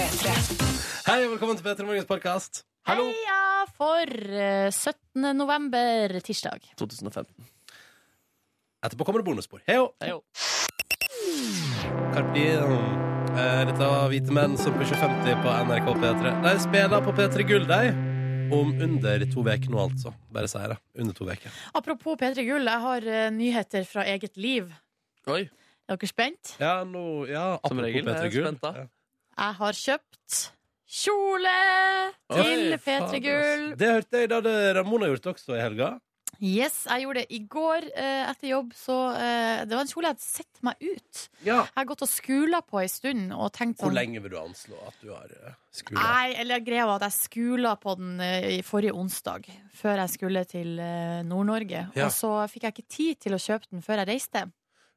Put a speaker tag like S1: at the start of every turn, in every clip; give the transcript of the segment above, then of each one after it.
S1: Hei og velkommen til Petter Morgens podkast. Hallo!
S2: Heia for eh, 17. november, tirsdag.
S3: 2015.
S1: Etterpå kommer det bonusspor. Hei og
S2: Heio.
S1: Carpe Diem. Eh, Dette var Hvite menn som pusher 50 på NRK P3. De spiller på P3 Gull, de. Om under to uker nå, altså. Bare sier det. Under to uker.
S2: Apropos P3 Gull, jeg har eh, nyheter fra eget liv.
S3: Oi.
S2: Er dere spent?
S1: Ja, nå Ja,
S3: Som
S1: apropos
S3: regel,
S1: P3
S3: jeg er
S1: Gull.
S3: spent da.
S1: Ja.
S2: Jeg har kjøpt kjole til
S3: Oi,
S2: P3
S3: faen, ass.
S2: Gull.
S1: Det hørte jeg. Det hadde Ramona gjort også i helga.
S2: Yes, jeg gjorde det i går eh, etter jobb. Så eh, det var en kjole jeg hadde sett meg ut.
S1: Ja.
S2: Jeg har gått og skula på ei stund og tenkt
S1: Hvor
S2: sånn
S1: lenge vil du anslå at du har eh, skula?
S2: Nei, eller greia var at jeg skula på den eh, i forrige onsdag, før jeg skulle til eh, Nord-Norge.
S1: Ja.
S2: Og så fikk jeg ikke tid til å kjøpe den før jeg reiste.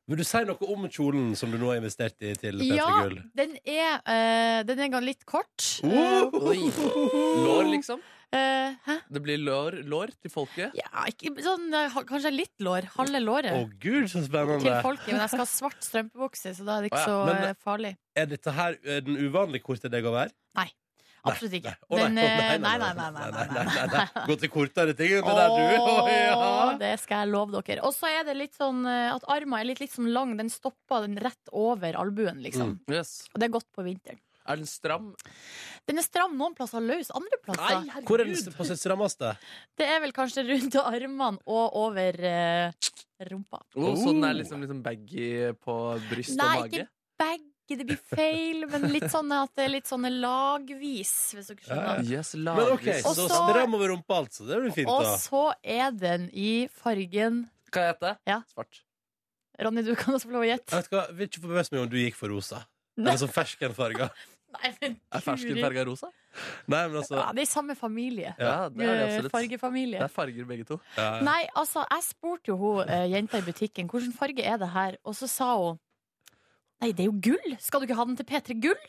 S1: Vil du si noe om kjolen som du nå har investert i til P3
S2: Ja,
S1: Gull?
S2: den er, eh, den er gan- litt kort. Eh,
S3: Oi. Lår, liksom.
S2: eh, hæ?
S3: Det blir lår, lår til folket.
S2: Ja, ikke, sånn, eh, ha- kanskje litt lår. Halve låret
S1: Å gud, så
S2: til
S1: spennende.
S2: folket. Men jeg skal ha svart strømpebukse, så da er det
S3: Å
S2: ikke
S3: ja,
S2: så
S1: men-
S2: eh, farlig.
S1: Er dette her eh, den uvanlige kortet deg å være?
S2: Absolutt ikke.
S1: Å,
S2: Men eh,
S1: å,
S2: nei, nei, nei. nei, nei, nei.
S1: nei. Gå til kortere ting enn det der du Å,
S2: Åh,
S1: ja.
S2: det skal jeg love dere. Og så er det litt sånn eh, at armen er litt, litt sånn lang. Den stopper den rett over albuen,
S1: Mm.
S2: liksom.
S3: Yes.
S2: Og det er godt på vinteren.
S3: Er den stram?
S2: Den er stram noen plasser, løs andre plasser.
S1: Hvor er den på sitt strammeste?
S2: Det er vel kanskje rundt armene og over eh, rumpa.
S3: Oh, så den er liksom, liksom baggy på bryst
S2: Nei,
S3: og
S2: ikke
S3: mage?
S2: baggy, det blir feil, men litt sånn at det er litt sånn lagvis, hvis
S1: Ja,
S2: dere skjønner.
S3: Yes,
S1: Men OK,
S3: lagvis.
S2: Og
S1: så
S2: så-
S1: stram over rumpa, altså. Det blir fint,
S2: Og
S1: da.
S2: så er den i fargen
S3: Hva heter det?
S2: Ja.
S3: Svart.
S2: Ronny, du kan også få lov å
S1: Jeg
S2: gjette.
S1: vet ikke hva, vil ikke forbause meg om du gikk for rosa.
S2: Nei.
S1: Eller sånn ferskenfarga.
S2: Nei, men
S3: Er fersken
S2: Guri.
S3: farga rosa?
S1: Nei, men altså
S2: Ja, det er i samme familie.
S3: Ja, det er det
S2: Eh,
S3: absolutt.
S2: Fargefamilie.
S3: Det er farger, begge to.
S1: ja.
S2: Nei, altså, jeg spurte jo hun eh, jenta i butikken Hvilken farge er det her? Og så sa hun Nei, det er jo gull! Skal du ikke ha den til P3 Gull?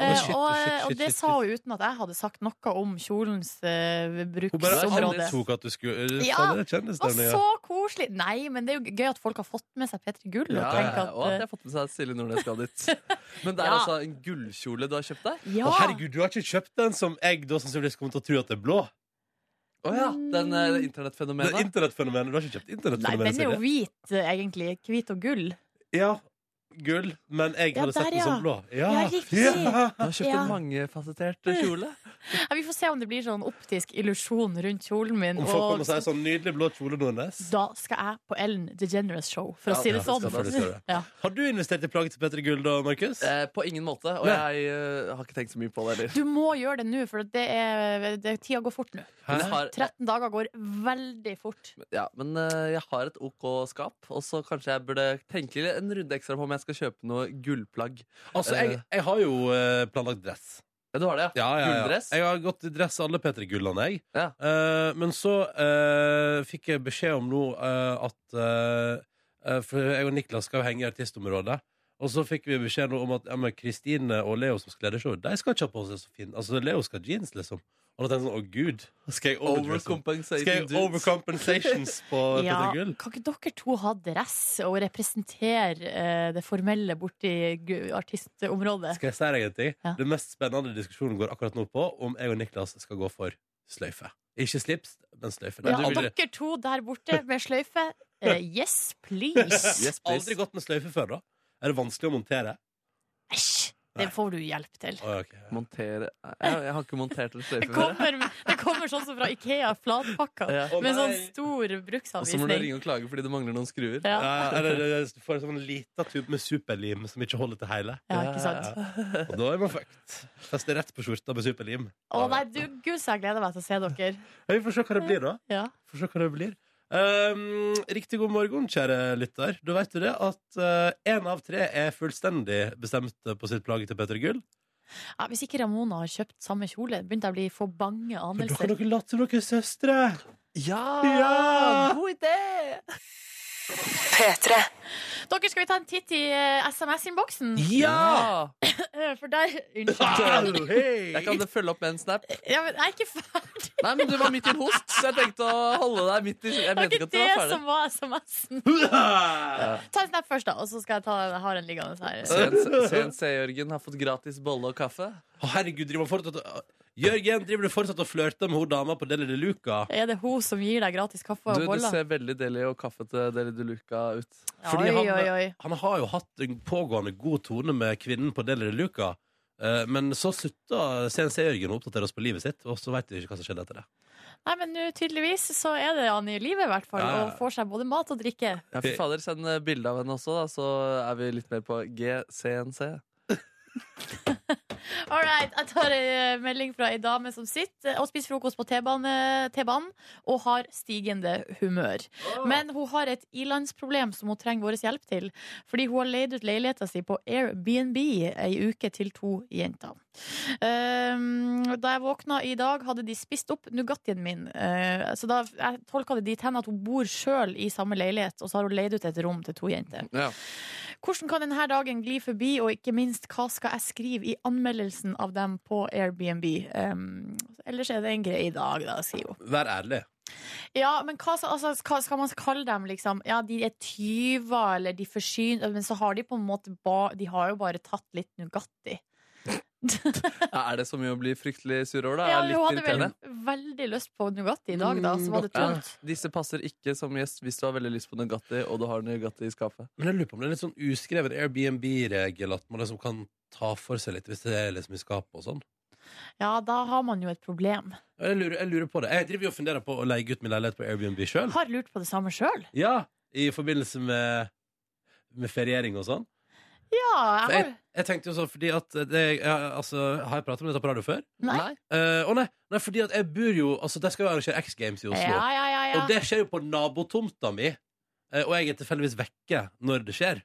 S2: Eh,
S1: shit,
S2: og,
S1: shit,
S2: eh,
S1: shit,
S2: og det
S1: shit,
S2: sa hun uten at jeg hadde sagt noe om kjolens eh,
S1: Hun bare
S2: bruksområde.
S1: antok at du skulle Fader, det
S2: Ja, Det var
S1: kjendisdøgnet, ja.
S2: så koselig! Nei, men det er jo gøy at folk har fått med seg P3 Gull. Og
S3: Ja,
S2: tenker
S3: ja, og at de
S2: at, eh,
S3: har fått med seg at Silje Nordnes skal dit. Men det er
S2: Ja.
S3: altså en gullkjole du har kjøpt deg?
S2: eh, ja.
S1: Å, herregud, du har ikke kjøpt den som jeg da sannsynligvis kommer til å tro at det er blå?
S3: Å ja. Den eh,
S1: Det er
S3: internettfenomenet.
S1: internettfenomenet. Du har ikke kjøpt
S2: Nei,
S1: internettfenomenet?
S2: den er jo
S1: Silje.
S2: hvit, eh, egentlig. Hvit og gull.
S1: Ja, gull, men jeg
S2: Ja,
S1: hadde sett
S2: der,
S1: den
S2: ja.
S1: som blå. Ja,
S2: Ja, riktig.
S3: Du har kjøpt
S2: Ja.
S3: en mangefasettert kjole.
S2: Ja, vi får se om det blir sånn optisk illusjon rundt kjolen min.
S1: Om folk kommer og sier sånn nydelig blå kjole, Nordnes.
S2: Da skal jeg på Ellen DeGeneres show, for
S3: Ja,
S2: å si det
S3: ja,
S2: sånn.
S3: det skal du,
S1: det skal du.
S2: Ja.
S1: Har du investert i plagg til Petter Gull da, Markus?
S3: Eh, på ingen måte. Og
S1: Nei.
S3: jeg eh, har ikke tenkt så mye på det heller.
S2: Du må gjøre det nå, for det er, det, tida går fort nå.
S1: Hæ?
S3: Men jeg har-
S2: 13 dager går veldig fort.
S3: Ja, men eh, jeg har et OK skap, og så kanskje jeg burde tenke en runde ekstra på om jeg skal kjøpe noe gullplagg.
S1: Altså, jeg, jeg har jo eh, planlagt dress.
S3: Ja, du har det, ja? Gulldress?
S1: Jeg har gått i dress alle Petter Gullene, jeg.
S3: Ja.
S1: Eh, men så eh, fikk jeg beskjed om nå eh, at eh, eh, For jeg og Niklas skal jo henge i artistområdet. Og så fikk vi beskjed nå om at ja, men Kristine og Leo som skal lede show, de skal ikke ha på seg så fin Altså, Leo skal ha jeans, liksom. Og da tenkte jeg sånn, å gud, skal jeg overdresse
S3: Overcompensating
S1: Skrev
S3: dudes.
S1: overcompensations på
S2: Ja,
S1: Petter
S2: kan
S1: Gull.
S2: ikke dere to ha dress og representere eh, det formelle borti gu- artistområdet?
S1: Skal jeg si deg en ting?
S2: Ja.
S1: Den mest spennende diskusjonen går akkurat nå på om jeg og Niklas skal gå for sløyfe. Ikke slips, men sløyfe.
S2: Ja,
S1: Du
S2: og
S1: vil-
S2: dere to der borte med sløyfe, eh, yes please!
S3: Yes, please.
S1: Aldri gått med sløyfe før, da. Er det vanskelig å montere?
S2: Æsj! Det får du hjelp til.
S1: Å, ja, ok.
S3: Montere jeg, jeg har ikke montert en
S2: Det
S3: sløyfe før.
S2: kommer, det kommer sånn som fra Ikea, flatpakka,
S3: Ja.
S1: Å,
S2: med sånn
S1: nei.
S2: stor
S3: Og så må du
S2: bruksanvisning.
S3: ringe og klage fordi det mangler noen skruer.
S2: Ja,
S1: Ja, ja, eller eller du får sånn lita tube med superlim som ikke holder til hele.
S2: ja, ikke sant?
S1: Og da er man fucked. Fester rett på skjorta med superlim.
S2: Å nei, du, gud, så jeg gleder meg til å se dere.
S1: Ja, Vi får se hva det blir, da.
S2: Ja.
S1: Får se hva det blir. Ehm, riktig god morgen, kjære lytter. Da vet du det at én av tre er fullstendig bestemt på sitt plagg til Petter Gull.
S2: Ja, hvis ikke Ramona har kjøpt samme kjole, begynte jeg å bli for bange
S1: Men da kan
S2: anelser.
S1: dere late som dere er søstre!
S3: Ja!
S1: Ja!
S3: God idé!
S2: Dere, skal vi ta en titt i eh, SMS-innboksen?
S1: Ja!
S2: Eh,
S1: Ah.
S2: For der Unnskyld.
S3: Jeg kan følge opp med en snap.
S2: Ja, men jeg er ikke ferdig.
S3: Nei, men du var midt i en host, så jeg tenkte å holde deg midt i Jeg
S2: Det var
S3: mente
S2: ikke
S3: ikke at du var
S2: det
S3: ferdig.
S2: som var SMS-en. Ta en snap først, da, og så skal jeg ta jeg har en liggende her.
S3: CNC CNC-Jørgen har fått gratis bolle og kaffe.
S1: Å, herregud, driver han fortsatt å- Jørgen, driver du fortsatt og flørter med hun dama på Deli de Luca?
S2: Er det hun som gir deg gratis kaffe
S3: Du,
S2: og
S3: du
S2: boller?
S3: ser veldig deilig og kaffete Deli de Luca ut.
S1: fordi
S2: oi,
S1: han-
S2: oi, oi.
S1: Han har jo hatt en pågående god tone med kvinnen på Deli de Luca. eh, Men så slutta CNC-Jørgen å oppdatere oss på livet sitt, og så veit vi ikke hva som skjedde etter det.
S2: Nei, men nå tydeligvis så er det han i livet, i hvert fall.
S1: Ja, ja.
S2: Og får seg både mat og drikke.
S3: Ja, fy fader, Send eh, bilde av henne også, da, så er vi litt mer på GCNC.
S2: All right, jeg tar en eh, melding fra ei dame som sitter og spiser frokost på T-bane- T-banen og har stigende humør. Men hun har et ilandsproblem som hun trenger vår hjelp til. Fordi hun har leid ut leiligheta si på Airbnb ei uke til to jenter. Ehm, da jeg våkna i dag, hadde de spist opp Nugattien min. Eh, så da jeg tolka det dit hen at hun bor sjøl i samme leilighet, og så har hun leid ut et rom til to jenter.
S3: Ja.
S2: Hvordan kan denne dagen gli forbi, og ikke minst, hva skal jeg skrive i anmeldelsen av dem på Airbnb? Um, ellers er det en grei dag, da, sier hun.
S1: Vær ærlig.
S2: Ja, men hva, så- altså, hva skal man kalle dem, liksom? Ja, de er tyver, eller de forsyner Men så har de på en måte ba, De har jo bare tatt litt Nugatti.
S3: Ja, Er det så mye å bli fryktelig sur over, da?
S2: Ja,
S3: Er det
S2: hun hadde
S3: litt
S2: vel
S3: irriterende?
S2: veldig lyst på Nugatti i dag, da, så var det
S3: Ja.
S2: tomt.
S3: Disse passer ikke som gjest hvis du har veldig lyst på Nugatti, og du har Nugatti i skapet.
S1: Men jeg lurer på om det er litt sånn uskreven Airbnb-regel at man liksom kan ta for seg litt hvis det er liksom i skapet og sånn.
S2: Ja, da har man jo et problem.
S1: Jeg lurer, jeg lurer på det. Jeg driver jo og funderer på å leie ut min leilighet på Airbnb sjøl.
S2: Har lurt på det samme sjøl.
S1: Ja, i forbindelse med, med feriering og sånn.
S2: Ja, jeg har
S1: Jeg tenkte jo sånn fordi at det, ja, altså, Har jeg pratet om dette på radio før?
S2: Nei.
S1: Eh, Å nei, nei, fordi at jeg bor jo Altså, De skal jo arrangere X Games i Oslo.
S2: Ja, ja, ja, ja.
S1: Og det skjer jo på nabotomta mi. eh, og jeg er tilfeldigvis vekke når det skjer.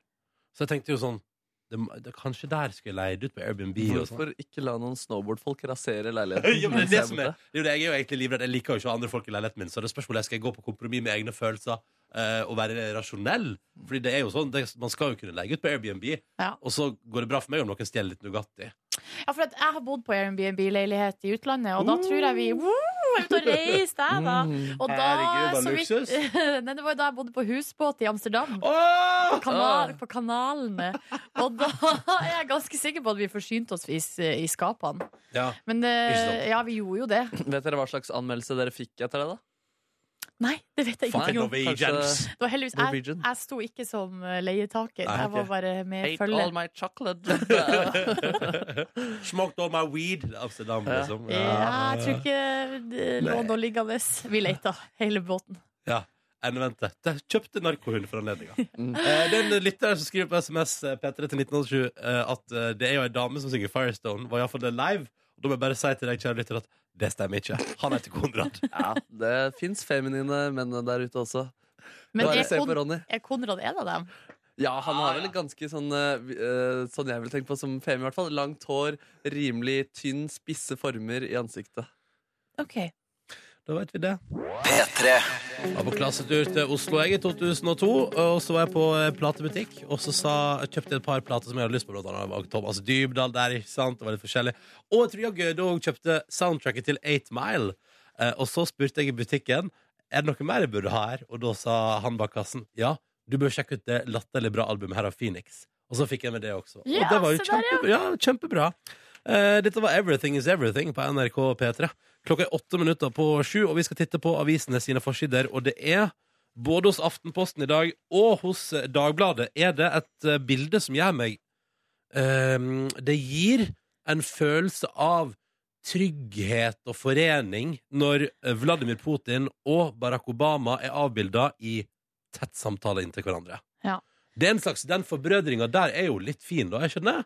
S1: Så jeg tenkte jo sånn det, må- det, Kanskje der skulle jeg leie det ut på Airbnb. og sånn
S3: Hvorfor ikke la noen snowboardfolk rasere leiligheten?
S1: ja, men det er det som er
S3: Mens
S1: jo, Jeg er jo egentlig livredd. Jeg liker jo ikke andre folk i leiligheten min. Så det er spørsmålet skal jeg gå på kompromiss med egne følelser eh, og være rasjonell. Fordi det er jo sånn, det, Man skal jo kunne legge ut på Airbnb,
S2: Ja.
S1: og så går det bra for meg om noen stjeler litt Nugatti.
S2: Ja, for at jeg har bodd på Airbnb-leilighet i utlandet, og da tror jeg vi Woo, Jeg er ute og reiser, jeg, da.
S3: Mm.
S2: Og da
S1: Herregud, hva
S2: så vidt-
S1: luksus.
S2: Nei, det var jo da jeg bodde på husbåt i Amsterdam. På, kanal, på kanalene. Og da er jeg ganske sikker på at vi forsynte oss i, s- i skapene.
S1: Ja.
S2: Men det,
S1: Ikke sant.
S2: ja, vi gjorde jo det.
S3: jeg bodde. Vet dere hva slags anmeldelse dere fikk etter det, da?
S2: Nei, det vet jeg ikke.
S3: Faen,
S1: Fucking
S2: om.
S1: Norwegians.
S2: Det var heldigvis Jeg,
S3: Norwegian.
S2: jeg sto ikke som eh, leietaker.
S1: Nei,
S2: Jeg var
S1: ok.
S2: bare med
S3: Ate all
S2: følge.
S3: my chocolate.
S1: Smoked all my weed i Amsterdam,
S3: Ja.
S1: liksom.
S2: Ja, jeg tror ikke det lå noe liggende. Vi leita hele båten.
S1: Ja. Endevendte. Jeg kjøpte narkohund for anledninga.
S3: Mm.
S1: Eh, det er en lytter som skriver på SMS eh, P3 til 1987 eh, at eh, det er jo ei dame som synger Firestone, var iallfall det live. Og da må jeg bare si til deg, kjære lytter, at det stemmer ikke. Han heter Konrad.
S3: ja, det fins feminine menn der ute også.
S2: Men
S3: Bare
S2: er,
S3: se på
S2: Kon
S3: Ronny.
S2: er Konrad en av dem?
S3: Ja, han har vel ganske sånn eh, vi- eh, Sånn jeg vil tenke på som femi, i hvert fall. Langt hår, rimelig tynn, spisse former i ansiktet.
S2: Ok
S1: Da veit vi det. P3. Jeg var på klassetur til Oslo jeg i 2002, og så var jeg på eh, platebutikk. Og så sa, jeg kjøpte et par plater som jeg hadde lyst på, blant annet var Thomas Dybdahl der. ikke sant? Det var litt forskjellig. Og jeg tror jeg Gøde òg kjøpte soundtracket til 8 Mile. Eh, Og så spurte jeg i butikken er det noe mer jeg burde ha her, og da sa han bak kassen ja, du bør sjekke ut det latterlig bra albumet her av Phoenix. Og så fikk jeg med det også.
S2: Ja,
S1: og det var jo
S2: se der,
S1: kjempebra. Ja, kjempebra. Eh, dette var Everything Is Everything på NRK P3. Klokka er åtte minutter på sju, og vi skal titte på avisene sine forsider. Og det er, både hos Aftenposten i dag og hos eh, Dagbladet, er det et eh, bilde som gjør meg eh, Det gir en følelse av trygghet og forening når eh, Vladimir Putin og Barack Obama er avbilda i tett samtale inntil hverandre.
S2: Ja.
S1: Det er en slags, Den forbrødringa der er jo litt fin, da. jeg skjønner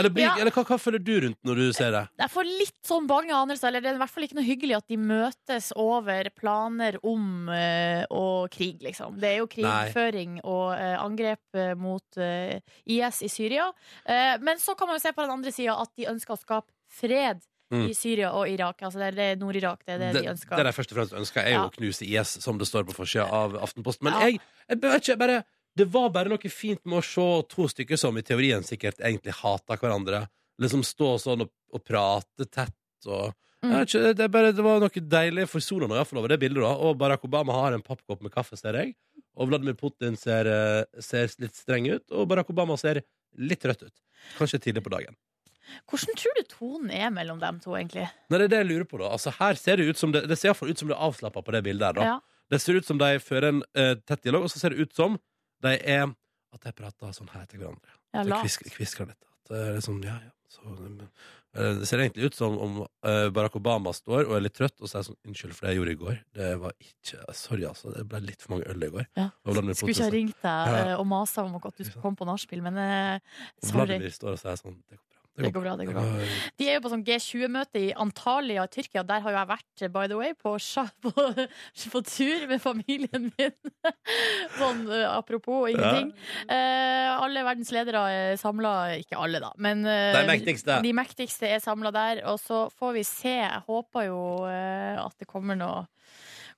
S1: Eller, blir,
S2: Ja.
S1: eller hva, hva føler du rundt når du ser det?
S2: Jeg får litt sånn bange anelser. Eller det er i hvert fall ikke noe hyggelig at de møtes over planer om eh, og krig, liksom. Det er jo krigføring og eh, angrep eh, mot eh, IS i Syria. Eh, men så kan man jo se på den andre sida at de ønsker å skape fred
S1: Mm.
S2: i Syria og Irak. Altså det er det Nord-Irak det er det, de ønsker.
S1: det de først og fremst ønsker, er jo
S2: Ja.
S1: å knuse IS, som det står på forsida av Aftenposten. Men
S2: Ja.
S1: jeg, jeg vet ikke, jeg bare Det var bare noe fint med å se to stykker som i teorien sikkert egentlig hater hverandre, liksom stå sånn og, og prate tett og jeg
S2: Mm.
S1: vet ikke, det, er bare, det var noe deilig forsonende iallfall over det bildet. da Og Barack Obama har en pappkopp med kaffe, ser jeg. Og Vladimir Putin ser, eh, ser litt streng ut. Og Barack Obama ser litt trøtt ut. Kanskje tidlig på dagen.
S2: Hvordan tror du tonen er mellom dem to, egentlig?
S1: Nei, det er det jeg lurer på da Altså her ser det ut som det Det ser i hvert fall ut som det er avslappet på det bildet her da
S2: Ja.
S1: Det ser ut som de fører en eh, tett dialog Og så ser det ut som De er At de prater sånn her til hverandre
S2: Ja,
S1: De
S2: la.
S1: kvis- kvisker litt At det er liksom Ja, ja så, men- Eh, Det ser egentlig ut som om eh, Barack Obama står Og er litt trøtt Og sier sånn Unnskyld for det jeg gjorde i går Det var ikke Sorry altså Det ble litt for mange øl i går
S2: Ja.
S1: Og Vladimir
S2: Skulle ikke ha
S1: Putin-
S2: ringt deg
S1: Ja.
S2: eh, og masa om at du skulle komme på nachspiel, men eh, sorry.
S1: Vladimir står og sier sånn Det går bra
S2: Det går bra. det går bra De er jo på sånn G20-møte i Antalya i Tyrkia. Der har jo jeg vært, by the way, på, sja- på, på tur med familien min. Sånn eh, apropos ingenting. Eh, alle verdens ledere er samla Ikke alle, da, men eh,
S1: De mektigste.
S2: de mektigste er samla der. Og så får vi se. Jeg håper jo eh, at det kommer noe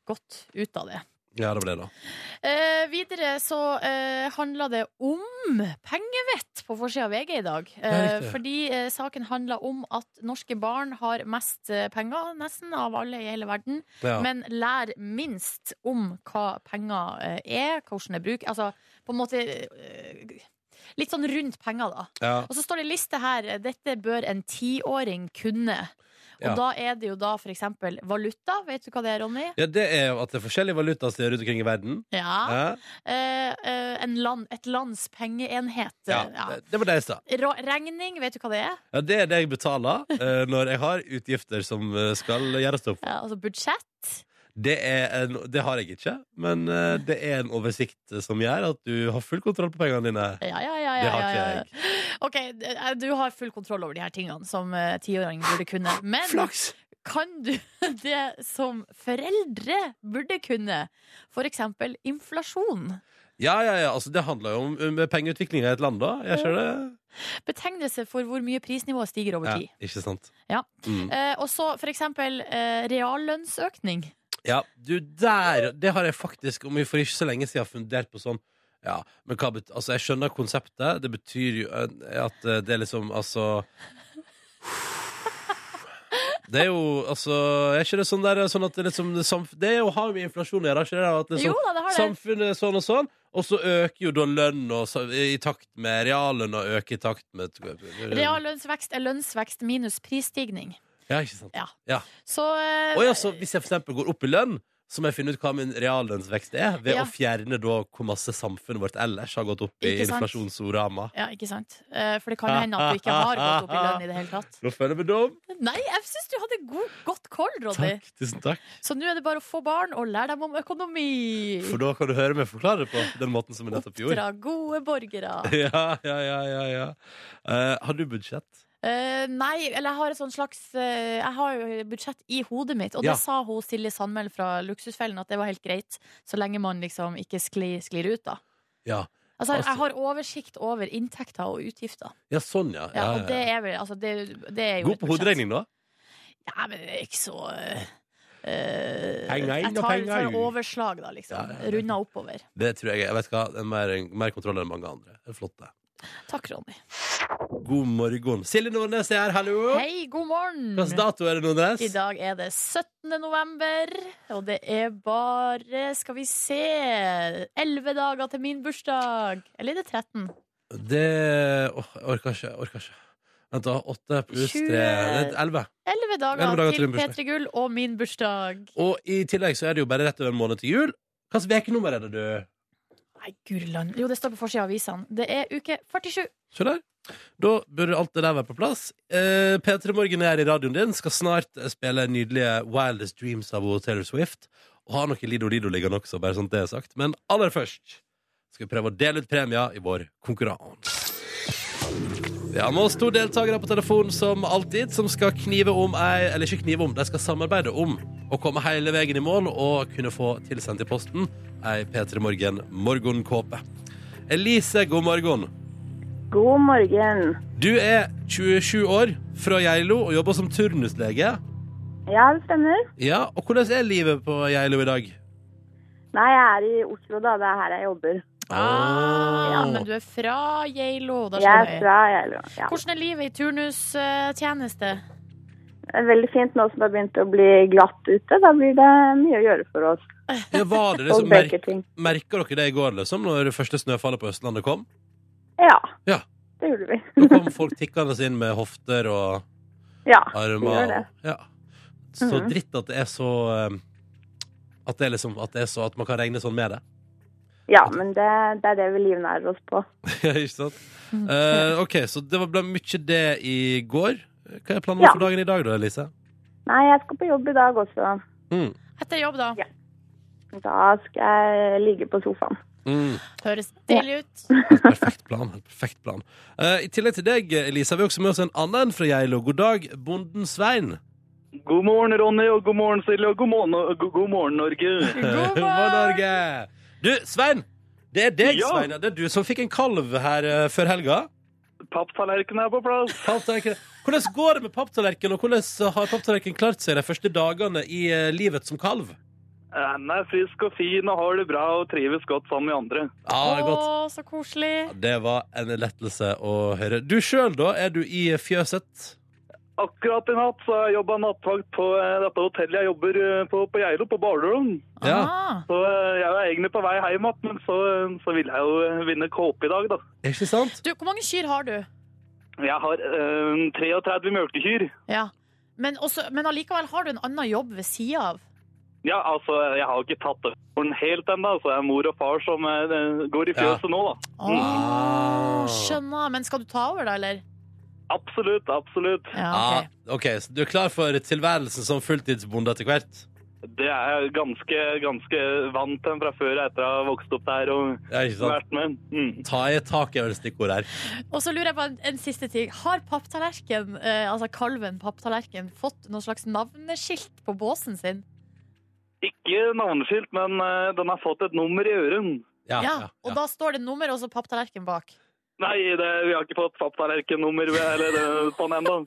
S2: godt ut av det.
S1: Ja, det ble det da
S2: Eh, videre så eh, handla det om pengevett på forsida av VG i dag. Eh,
S1: riktig.
S2: fordi eh, saken handla om at norske barn har mest eh, penger, nesten, av alle i hele verden.
S1: ja.
S2: Men lær minst om hva penger eh, er, hvordan det bruk Altså på en måte eh, Litt sånn rundt penger, da.
S1: ja.
S2: Og så står det en liste her eh, Dette bør en tiåring kunne. Og
S1: Ja.
S2: da er det jo da for eksempel valuta. Vet du hva det er, Ronny?
S1: ja, det er jo at det er forskjellige valutaer som er rundt omkring i verden
S2: Ja.
S1: Ja.
S2: Eh, eh, en land, et lands pengeenhet.
S1: Ja,
S2: Ja.
S1: det- Det var det jeg sa.
S2: Ra- Regning, vet du hva det er?
S1: Ja, det er det jeg betaler eh, når jeg har utgifter som eh, skal gjøres opp.
S2: Ja, altså budsjett.
S1: Det, er en, det har jeg ikke, men eh, det er en oversikt som gjør at du har full kontroll på pengene dine.
S2: Ja, ja, ja. ja,
S1: Det har
S2: ja,
S1: ikke
S2: ja. Ok, eh, du har full kontroll over de her tingene som eh, tiåringen burde kunne. Men
S1: Flaks!
S2: kan du det som foreldre burde kunne? For eksempel inflasjon.
S1: Ja, ja, ja. Altså, det handler jo om, om pengeutvikling i et land, da. Jeg ser det.
S2: Betegnelse for hvor mye prisnivået stiger over
S1: Ja,
S2: tid.
S1: ikke sant?
S2: Ja.
S1: Mm.
S2: Eh, og så for eksempel eh, reallønnsøkning.
S1: Ja, du, der Det har jeg faktisk, om vi for ikke så lenge siden, fundert på sånn Ja, men hva bet... Altså, jeg skjønner konseptet. Det betyr jo eh, at eh, det er liksom Altså Det er jo altså Er ikke det sånn der sånn at det liksom Det, samf det er jo, har jo med inflasjon å gjøre, ikke det? At
S2: Jo
S1: liksom,
S2: da, det har det.
S1: samfunnet er sånn og sånn. Og så øker jo da lønn og så- i takt med reallønna øker i takt med
S2: Reallønnsvekst er lønnsvekst minus prisstigning.
S1: Ja, altså. ikke sant.
S2: Så eh,
S1: Å ja, så hvis jeg for eksempel går opp i lønn, så må jeg finne ut hva min reallønnsvekst er, ved
S2: Ja.
S1: å fjerne da hvor masse samfunnet vårt ellers har gått opp i
S2: Ikke sant?
S1: inflasjonsorama.
S2: Ja, ikke sant? Eh, For det kan jo hende at du ikke har gått opp i lønn i det hele tatt.
S1: Nå føler jeg meg dum.
S2: Nei, jeg syns du hadde god, godt kål, Roddy.
S1: Takk, tusen takk.
S2: Så nå er det bare å få barn og lære dem om økonomi.
S1: For da kan du høre meg forklare det på den måten som jeg nettopp gjorde.
S2: Oppdra gode borgere.
S1: Ja, ja, ja, ja, ja. Eh, har du budsjett?
S2: Eh, nei, eller jeg har et sånt slags eh, Jeg har jo budsjett i hodet mitt, og
S1: Ja.
S2: det sa hun Silje Sandmæl fra Luksusfellen at det var helt greit, så lenge man liksom ikke sklir, sklir ut, da.
S1: Ja.
S2: Altså, jeg-
S1: Altså-
S2: jeg har oversikt over inntekter og utgifter.
S1: Ja, sånn, ja.
S2: Ja,
S1: ja,
S2: Og det
S1: ja, ja.
S2: er vel altså, det, det er jo
S1: God
S2: et
S1: på
S2: budsjett.
S1: hoderegning, da.
S2: Ja, men det er ikke så eh,
S1: Penger inn
S2: Jeg
S1: og
S2: tar,
S1: penger
S2: tar
S1: ut.
S2: overslag, da, liksom.
S1: Ja, ja, ja.
S2: Runder oppover.
S1: Det tror jeg, jeg vet hva, det er mer, mer kontroll enn mange andre. Det er flott, det.
S2: Takk, Ronny.
S1: God morgen. Silje Nordnes er her, hallo!
S2: Hei,
S1: Hvilken
S2: god morgen!
S1: dato er det, Nordnes?
S2: I dag er det 17. november, og det er bare, skal vi se, 11 dager til min bursdag. Eller er det 13?
S1: Det åh, jeg orker ikke. jeg orker ikke Vent, da. Åtte pluss
S2: Tjue.
S1: tre det er Elleve.
S2: 11 dager,
S1: 11 dager til
S2: til
S1: din bursdag.
S2: P3 Gull og min bursdag.
S1: Og i tillegg så er det jo bare rett over en måned til jul. Hvilket ukenummer er det, du?
S2: Nei, guri land. Jo, det står på forsida av avisene. Det er uke 47.
S1: Se der. Da burde alt det der være på plass. Eh, P3 Morgen er i radioen din. Skal snart spille nydelige Wildest Dreams av Taylor Swift. Og har noe Lido Lido liggende også, bare sånn at det er sagt. Men aller først skal vi prøve å dele ut premier i vår konkurranse. Vi har med oss to deltakere på telefon som alltid, som skal knive om ei Eller ikke knive om, de skal samarbeide om å komme hele veien i mål og kunne få tilsendt i posten ei P3 Morgen morgenkåpe. Elise, god morgen.
S4: God morgen.
S1: Du er 27 år, fra Geilo, og jobber som turnuslege.
S4: Ja, det stemmer.
S1: Ja, og hvordan er livet på Geilo i dag?
S4: Nei, jeg er i Oslo, da. Det er her jeg jobber.
S2: Ah, men du er fra Geilo. da
S4: Jeg er
S2: skjønner jeg.
S4: fra Geilo. Ja.
S2: Hvordan er livet i turnustjeneste?
S4: Det er veldig fint nå som det har begynt å bli glatt ute. Da blir det mye å gjøre for oss.
S1: Ja, var det
S4: Og
S1: liksom, merk,
S4: bøker ting.
S1: merker dere det i går, liksom, når det første snøfallet på Østlandet kom?
S4: Ja.
S1: Ja.
S4: Det gjorde vi.
S1: Da kom folk tikkende inn med hofter og
S4: Ja.
S1: armer.
S4: gjør det.
S1: og- Ja. Så
S4: Mhm.
S1: dritt at det er så eh, At det er liksom At, det er så, at man kan regne sånn med det.
S4: Ja, men det, det er det vi livnærer oss på.
S1: Ja, Ikke sant?
S4: Mhm.
S1: Eh, OK, så det var- ble mye det i går. Hva er planene
S4: Ja.
S1: for dagen i dag, da, Elise?
S4: Nei, jeg skal på jobb i dag også.
S1: Mm.
S2: Etter jobb, da.
S4: Ja. Da skal jeg ligge på sofaen.
S1: Mm.
S2: Høres deilig ut.
S1: Helt Perfekt plan. helt Perfekt plan. Eh, I tillegg til deg, Elise, har vi også med oss en annen fra Geilo. God dag, bonden Svein.
S5: God morgen, Ronny, og god morgen, Silje, og god morgen, og go- god morgen Norge.
S2: God
S1: Hva,
S2: morgen!
S1: Norge! Du, Svein! Det er deg,
S5: Ja.
S1: Svein. ja. Det er du som fikk en kalv her eh, før helga.
S5: Papptallerkenen er på plass.
S1: Papptallerken. Hvordan går det med papptallerken, og hvordan har papptallerken klart seg de første dagene i eh, livet som kalv?
S5: Han er frisk og fin og har det bra og trives godt sammen med andre.
S1: Ja, det er
S2: Å,
S1: godt.
S2: så koselig.
S1: Det var en lettelse å høre. Du sjøl, da? Er du i fjøset?
S5: Akkurat i natt så har jeg jobba nattvakt på eh, dette hotellet jeg jobber eh, på på Geilo, på Bardurum.
S1: Ja.
S2: Ah,
S5: Så eh, jeg er egentlig på vei hjem igjen, men så, eh, så ville jeg jo eh, vinne kåpe i dag, da.
S1: Ikke sant?
S2: Du, hvor mange kyr har du?
S5: Jeg har eh, 33 mjølkekyr.
S2: Ja. Men, også, men allikevel har du en annen jobb ved sida av.
S5: Ja, altså, jeg har ikke tatt over den helt ennå, så det er mor og far som eh, går i
S1: Ja.
S5: fjøset nå, da.
S2: Å,
S1: Ah.
S2: skjønner. Men skal du ta over, da, eller?
S5: Absolutt, absolutt.
S2: Ja,
S1: Ja,
S2: ok.
S1: Ah, OK, så du er klar for tilværelsen som fulltidsbonde etter hvert?
S5: Det er jeg ganske, ganske vant til fra før etter å ha vokst opp der og
S1: Ja, ikke sant?
S5: vært med. Mm.
S1: Ta i et tak er vel stikkordet her.
S2: Og så lurer jeg på en, en siste ting. Har papptallerken, eh, altså kalven papptallerken, fått noe slags navneskilt på båsen sin?
S5: Ikke navneskilt, men eh, den har fått et nummer i øren.
S1: Ja, ja,
S2: Og
S1: ja.
S2: da står det nummer og så papptallerken bak.
S5: Nei, det, vi har ikke fått papptallerkennummer eller eh, sånn det- på den ennå.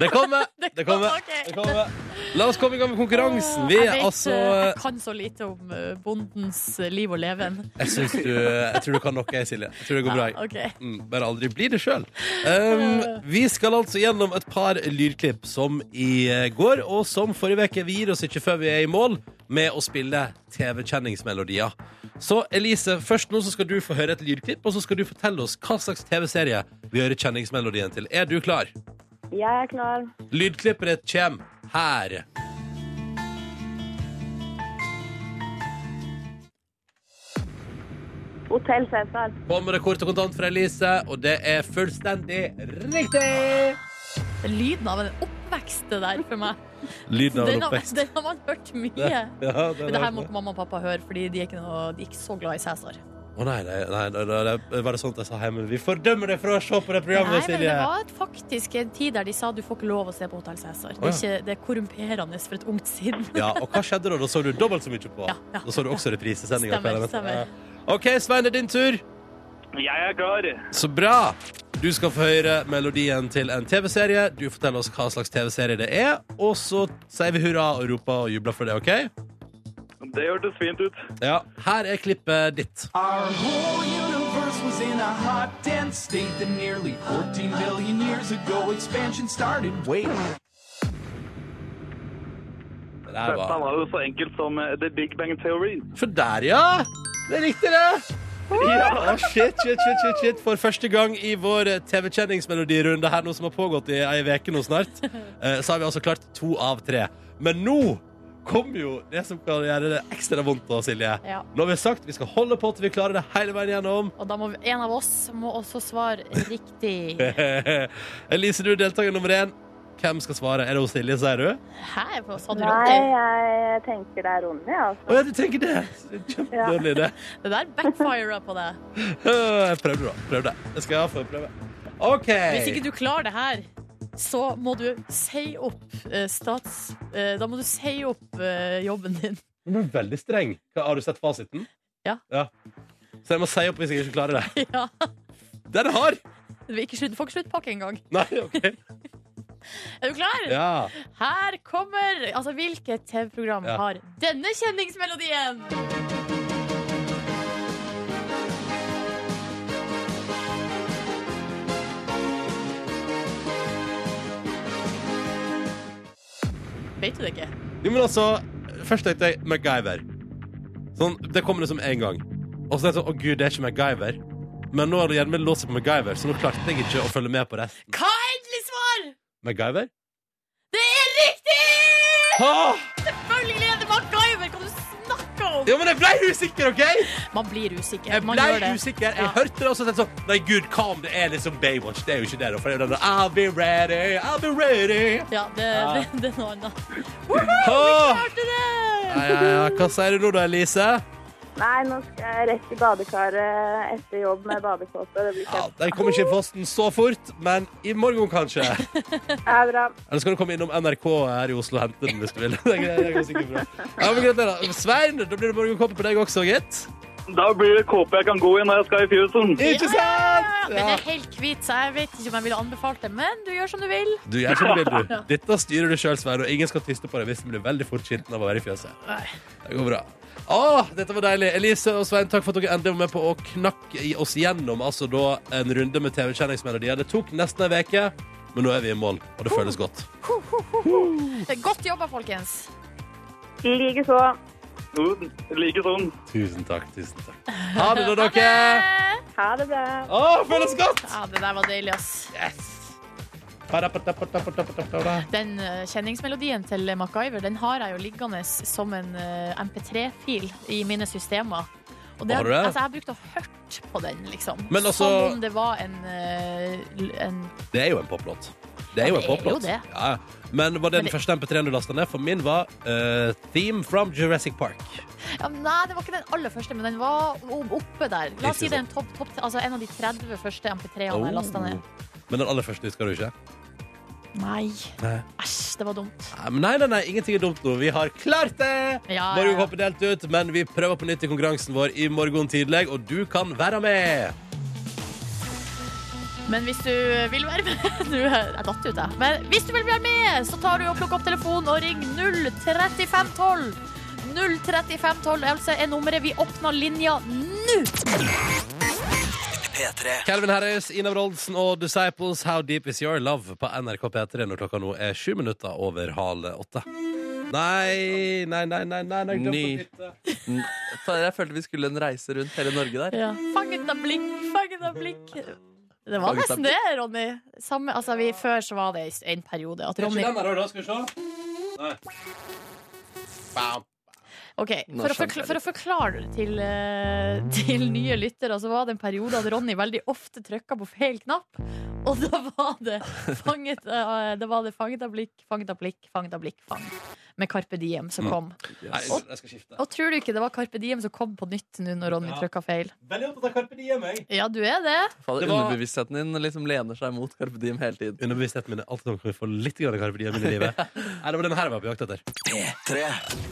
S1: Det kommer!
S2: Det
S1: Det kommer.
S2: ok.
S1: Det kommer. La oss komme i gang med konkurransen. Vi
S2: Åh,
S1: er
S2: jeg vet,
S1: altså
S2: eh, Jeg kan så lite om eh, bondens liv og leven.
S1: Jeg, synes du, jeg tror du kan noe, jeg, Silje. Jeg tror det går bra. jeg.
S2: Ja, ok.
S1: Mm, Bare aldri bli det sjøl. Um, vi skal altså gjennom et par lydklipp som i eh, går, og som forrige uke. Vi gir oss ikke før vi er i mål med å spille TV-kjenningsmelodier. Så Elise, først nå så skal du få høre et lydklipp, og så skal du fortelle oss hva slags TV-serie vi hører kjenningsmelodien til. Er du klar?
S4: Jeg er klar.
S1: Lydklippet ditt kjem her.
S4: Hotell Cæsar.
S1: Kommer det kort og kontant fra Elise, og det er fullstendig riktig!
S2: Lyden av en oppvekst, det der, for meg.
S1: Lyden av
S2: Den
S1: en
S2: har,
S1: oppvekst.
S2: den har man hørt mye.
S1: Ja, det,
S2: Men det her
S1: var-
S2: må ikke mamma og pappa høre, Fordi de er ikke, noe, de er ikke så glad i Cæsar.
S1: Å nei, nei, nei, nei, nei, nei, var det sånt jeg sa hjemme? Vi fordømmer deg for å se på det
S2: Nei,
S1: programmet,
S2: men det
S1: Silje!
S2: var et faktisk en tid der de sa du får ikke lov å se på Hotell Cæsar. Det, er
S1: Å,
S2: ikke- det er korrumperende for et ungt sinn.
S1: Ja, og hva skjedde da? Da så du dobbelt så mye på.
S2: Ja, ja.
S1: Da så du også reprisesendinga.
S2: Stemmer, stemmer.
S1: OK, Svein, det er din tur.
S5: Jeg er klar.
S1: Så bra! Du skal få høre melodien til en TV-serie. Du forteller oss hva slags TV-serie det er, og så sier vi hurra og roper og jubler for det, OK?
S5: Det hørtes fint ut.
S1: Ja. Her er klippet ditt.
S6: Our whole universe was in a hot, dense state that nearly 14 billion years ago expansion started. Wait.
S1: Det der
S5: Dette
S1: var
S5: var jo så enkelt som eh, The Big Bang Theory.
S1: Så der, ja! Det er riktig, det!
S5: Ja,
S1: Å, shit, shit, shit, shit, shit. For første gang i vår eh, TV-kjenningsmelodierunde her nå som har pågått i ei uke nå snart, eh, så har vi altså klart to av tre. Men nå kommer jo det som kan gjøre det ekstra vondt da, Silje.
S2: Ja.
S1: Nå har vi sagt vi skal holde på til vi klarer det hele veien gjennom.
S2: Og da må vi, en av oss må også svare riktig.
S1: Elise, du er deltaker nummer én. Hvem skal svare? Er det hos Silje, sier du?
S2: Her på Sandra
S4: Nei,
S2: Rotter.
S4: jeg tenker det er Ronny,
S1: Å
S4: altså.
S1: ja, du tenker det! Det er Kjempedårlig idé.
S2: Det der backfirer på deg.
S1: Jeg prøvde, da. Prøvde. Jeg skal få prøve. OK.
S2: Hvis ikke du klarer det her, så må du si opp eh, stats... eh, da må du si opp eh, jobben din.
S1: Du ble veldig streng. Hva, har du sett fasiten?
S2: Ja.
S1: Så jeg må si opp hvis jeg ikke klarer det.
S2: ja.
S1: Den er hard!
S2: Det blir ikke slutt, får ikke sluttpakke engang.
S1: Nei, ok.
S2: Er du klar?
S1: Ja.
S2: Her kommer Altså, hvilket TV-program
S1: Ja.
S2: har denne kjenningsmelodien? Vet du det ikke?
S1: Jo, men altså Først tenkte jeg MacGyver. Sånn, det kommer liksom én gang. Og så tenkte jeg sånn Å, gud, det er ikke MacGyver. Men nå har det gjerne låst seg på MacGyver, så nå klarte jeg ikke å følge med på resten.
S2: Hva er endelig svar?
S1: MacGyver?
S2: Det er riktig!
S1: Ah!
S2: Selvfølgelig er det MacGyver! Hva du snakker om?
S1: Ja, men jeg ble usikker, OK?
S2: Man blir usikker.
S1: Jeg
S2: Man
S1: ble
S2: gjør det.
S1: usikker. Jeg
S2: Ja.
S1: hørte det, og så tenkte jeg sånn Nei, gud, hva om det er liksom Baywatch? Det er jo ikke det, da. For det er jo den der I'll be ready, I'll be ready.
S2: Ja, det,
S1: Ja.
S2: det, det er noe annet. Woohoo!
S1: Ah!
S2: Klarte det!
S1: Ja, ja, ja. Hva sier du nå da, Elise?
S4: Nei, nå skal jeg rett i badekaret etter jobb med badekåpe. Det blir
S1: Ja,
S4: kjempe.
S1: Den kommer ikke i posten så fort, men i morgen kanskje.
S4: Ja, bra.
S1: Eller så kan du komme innom NRK her i Oslo og hente den hvis du vil. Det går- det går sikkert bra. Ja, men gratulerer. Svein, da blir det morgenkåpe på deg også, gitt.
S5: Da blir det kåpe jeg kan gå i når jeg skal i fjøsen.
S1: Ikke sant?
S2: Den
S1: Ja.
S2: er helt hvit, så jeg vet ikke om jeg ville anbefalt det, men du gjør som du vil.
S1: Du gjør som du vil, du. Dette styrer du sjøl, Svein, og ingen skal tyste på deg hvis du blir veldig fort skitten av å være i fjøset.
S2: Nei.
S1: Det går bra. Åh, dette var deilig. Elise og Svein, takk for at dere endelig var med på å knakke i oss gjennom altså da en runde med TV-kjenningsmelodier. Det tok nesten ei uke, men nå er vi i mål, og det føles godt.
S2: Godt jobba, folkens.
S4: Likeså.
S5: Like sånn.
S1: Tusen takk. Tusen takk. Ha det, da, dere.
S4: Ha det bra.
S1: Åh, føles godt!
S2: Ja, det der var deilig, ass.
S1: Yes! Parapatapatapatapatapata.
S2: Den eh, kjenningsmelodien til MacGyver den har jeg jo liggende som en eh, MP3-fil i mine systemer. Og det,
S1: Har du det?
S2: Altså, jeg har brukt å hørt på den, liksom.
S1: Men altså-
S2: Som om det var en, eh, l- en
S1: Det er jo en poplåt. Det er jo en
S2: Ja, det er jo
S1: poplåt.
S2: det.
S1: Ja, ja. Men var det den
S2: Men det-
S1: første MP3-en du lasta ned? For min var eh, Theme from Jurassic Park.
S2: ja, men Nei, det var ikke den aller første, men den var o- oppe der. La oss si
S1: Ikke
S2: det er en, topp, topp, altså en av de 30 første MP3-ene jeg lasta ned.
S1: Oh. Men den aller første husker du ikke?
S2: Nei.
S1: Nei.
S2: Æsj, det var dumt.
S1: Nei, Ah, men Nei, nei, nei, ingenting er dumt nå. Vi har klart det!
S2: Ja, ja, ja.
S1: Morgenkoppen er delt ut, men vi prøver på nytt i konkurransen vår i morgen tidlig, og du kan være med!
S2: Men hvis du vil være med du, Jeg datt ut, jeg. Men hvis du vil være med, så tar du og plukker opp telefonen og ring 03512. 03512 er altså er nummeret. Vi åpner linja nå!
S1: Calvin Harris, Ina Wroldsen og Disciples How Deep Is Your Love på NRK P3 når klokka nå er sju minutter over halv åtte. Nei, nei, nei, nei, nei, nei jeg
S3: Ny.
S1: glemte å titte.
S3: Jeg følte vi skulle en reise rundt hele Norge der.
S2: Ja. Fanget av blikk, fanget av blikk. Det var
S3: Fanget av
S2: nesten det, Ronny. Samme, altså, vi, før så var det en periode at
S1: Det er
S2: Ronny
S1: ikke den her, da, skal vi se. Nei. Bam.
S2: Ok,
S3: Nå
S2: for å,
S3: skjønte
S2: forkla
S3: jeg
S2: for å forklare til, eh, til nye lyttere, så var det en periode at Ronny veldig ofte trykka på feil knapp. Og da var det fanget, eh, da var det fanget av blikk, fanget av blikk, fanget av blikk, fang. Med Carpe Diem
S1: Mm.
S2: som kom.
S1: Nei,
S3: Yes.
S1: jeg skal skifte.
S2: Og tror du ikke det var Carpe Diem som kom på nytt nå når Ronny
S1: Ja.
S2: trykka feil?
S1: Veldig opptatt av Carpe Diem, jeg.
S2: Ja, du er det.
S3: Fader,
S1: Det var-
S3: Underbevisstheten din liksom lener seg mot Carpe Diem hele tiden.
S1: Underbevisstheten min er alltid sånn, kan vi få litt grann Carpe Diem inn i livet? Nei, det var den her jeg var på jakt etter.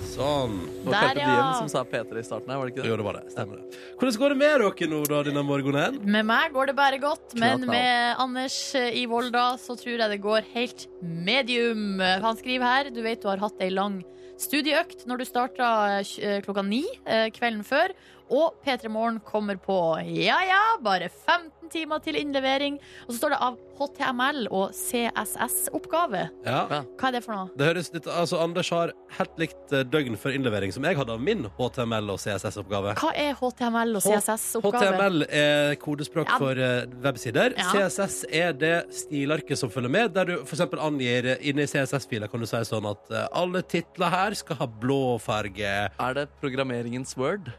S1: Sånn.
S3: Og
S2: Der,
S3: Carpe Diem
S2: ja.
S3: som sa P3 i starten her, var det ikke det?
S1: Jo, det var det. Stemmer det. Hvordan går det med dere nå, da, denne morgenen?
S2: Med meg går det bare godt, men
S3: Knall, knall.
S2: med Anders eh, i Volda så tror jeg det går helt medium. Han skriver her du vet du har hatt ei lang studieøkt når du starta eh, tj- eh, klokka ni eh, kvelden før, og P3 Morgen kommer på ja ja, bare 15 timer til innlevering. Og så står det av HTML og CSS-oppgave.
S1: Ja.
S2: Hva er det for noe?
S1: Det høres litt, altså Anders har helt likt eh, døgn for innlevering som jeg hadde av min HTML- og CSS-oppgave.
S2: Hva er HTML og
S1: H-
S2: CSS-oppgave?
S1: HTML er kodespråk
S2: Ja.
S1: for eh, websider.
S2: Ja.
S1: CSS er det stilarket som følger med, der du f.eks. angir eh, inne i CSS-filer kan du si sånn at eh, alle titler her skal ha blå farge.
S3: Er det programmeringens word?